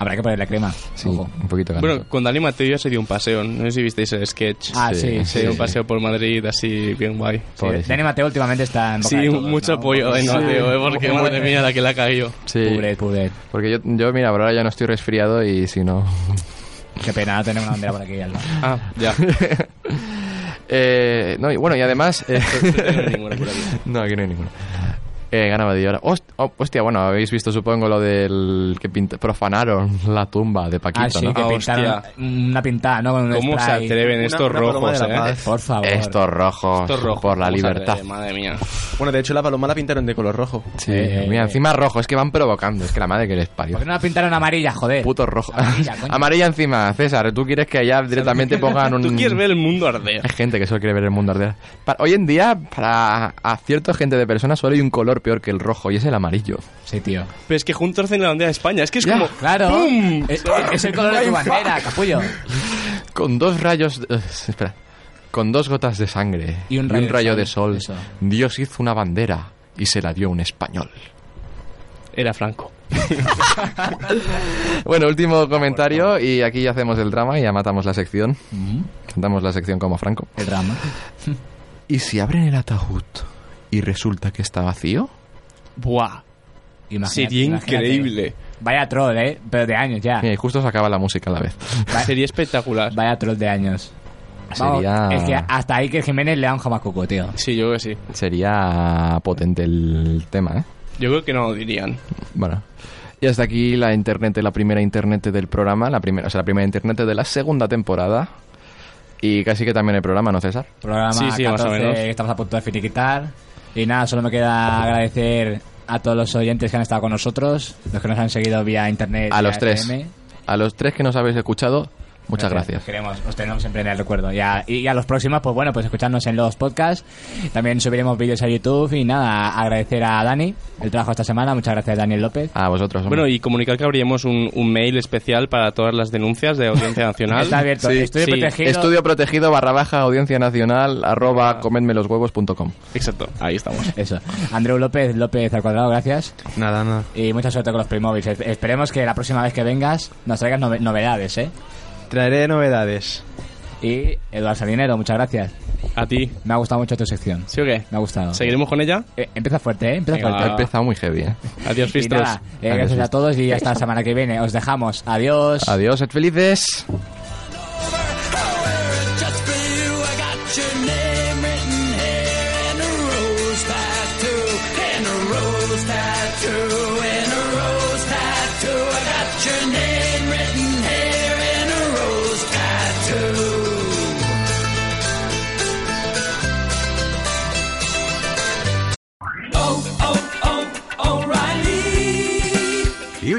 Habrá que ponerle crema. Sí, un poquito. de Bueno, con Dani Mateo se dio un paseo. No sé si visteis el sketch. Ah, sí, Se sí, dio sí. un paseo por Madrid así bien guay. viene. Sí, Dani Mateo últimamente está en boca Sí, de todos, mucho ¿no? apoyo de Sí. Mateo, ¿eh? porque Muy- madre mía la que la ha caído. Sí. Pobret, pobret. Porque yo, yo, mira, por ahora ya no estoy resfriado y si no... Qué pena, no tenemos una bandera por aquí. Alba. Ah, ya. Eh, no, y bueno, y además... eh, ninguna por aquí. no, aquí no hay ninguna. Eh, ganaba de llorar. Host- oh, hostia, bueno, habéis visto supongo lo del que pint- profanaron la tumba de Paquito, Ah, sí, ¿no? que pintaron una pintada, ¿no? Con un ¿Cómo se spray. atreven estos Una- una paloma rojos, de la eh? paz. Por favor. Estos rojos, Estos rojos, por la vamos a ver, libertad. Madre mía. Bueno, de hecho la paloma la pintaron de color rojo. Sí, mira, encima rojo, es que van provocando, es que la madre que les parió. Eh, ¿Por qué no la pintaron amarilla, joder? Puto rojo. Amarilla, Amarilla, coño. encima, César, tú quieres que allá directamente pongan un... Mm. Tú quieres ver el mundo arder. Hay gente que solo quiere ver el mundo arder. Pa- hoy en día, para a cierta gente de personas, solo hay un color peor que el rojo y es el amarillo. Sí, tío. Pero es que juntos hacen la bandera de España. Es que es Ya, como. Claro. ¡Pum! Es, es el color de tu bandera, capullo. Con dos rayos... eh, espera. Con dos gotas de sangre Y un rayo de de sol, Dios hizo una bandera y se la dio un español. Era Franco. Bueno, último comentario y aquí ya hacemos el drama y ya matamos la sección. Cantamos la sección como Franco. Mm, El drama. ¿Y si abren el ataúd y resulta que está vacío? Buah. Imagínate, Sería imagínate. increíble. Vaya troll, ¿eh? Pero de años ya. Mira, y justo se acaba la música a la vez. Sería espectacular. Vaya troll de años. Vamos, Sería- Es que hasta ahí que Jiménez le da un jamacuco, tío. Sí, yo creo que sí. Sería potente el tema, ¿eh? Yo creo que no lo dirían. Bueno. Y hasta aquí la internet, la primera internet del programa, la primera, o sea, la primera internet de la segunda temporada. Y casi que también el programa, ¿no, César? Programa Sí, sí, 14, más o menos. que estamos a punto de finiquitar. Y nada, solo me queda agradecer a todos los oyentes que han estado con nosotros, los que nos han seguido vía internet. A vía los tres. FM. A los tres que nos habéis escuchado, muchas gracias. Os Queremos, os tenemos siempre en el recuerdo. Y a, y a los próximos, pues bueno, pues escucharnos en los podcasts. También subiremos vídeos a YouTube. Y nada, agradecer a Dani el trabajo esta semana. Muchas gracias, Daniel López. A vosotros. Bueno, y comunicar que abriremos un, un mail especial para todas las denuncias de Audiencia Nacional. Está abierto. Sí, Estudio sí. protegido. Estudio protegido barra baja audiencia nacional arroba comedmeloshuevos.com. Exacto, ahí estamos. Eso. Andreu López, López al cuadrado, gracias. Nada, nada. Y mucha suerte con los Playmobil. Esperemos que la próxima vez que vengas nos traigas nove- novedades, ¿eh? Traeré novedades. Y Eduardo Salinero, muchas gracias. A ti. Me ha gustado mucho tu sección. ¿Sí o qué? Me ha gustado. ¿Seguiremos con ella? Eh, empieza fuerte, ¿eh? Empieza Venga, fuerte. ha empezado muy heavy, ¿eh? Adiós, Y Fistros. nada, eh, gracias a todos y hasta la semana que viene. Os dejamos. Adiós. Adiós, sed felices. Just for you, I got your name written here and a rose tattoo, and a rose tattoo, and a rose tattoo. I got your name written here and a rose tattoo. Oh, oh, oh, O'Reilly. You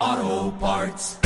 O'Reilly. Auto Parts.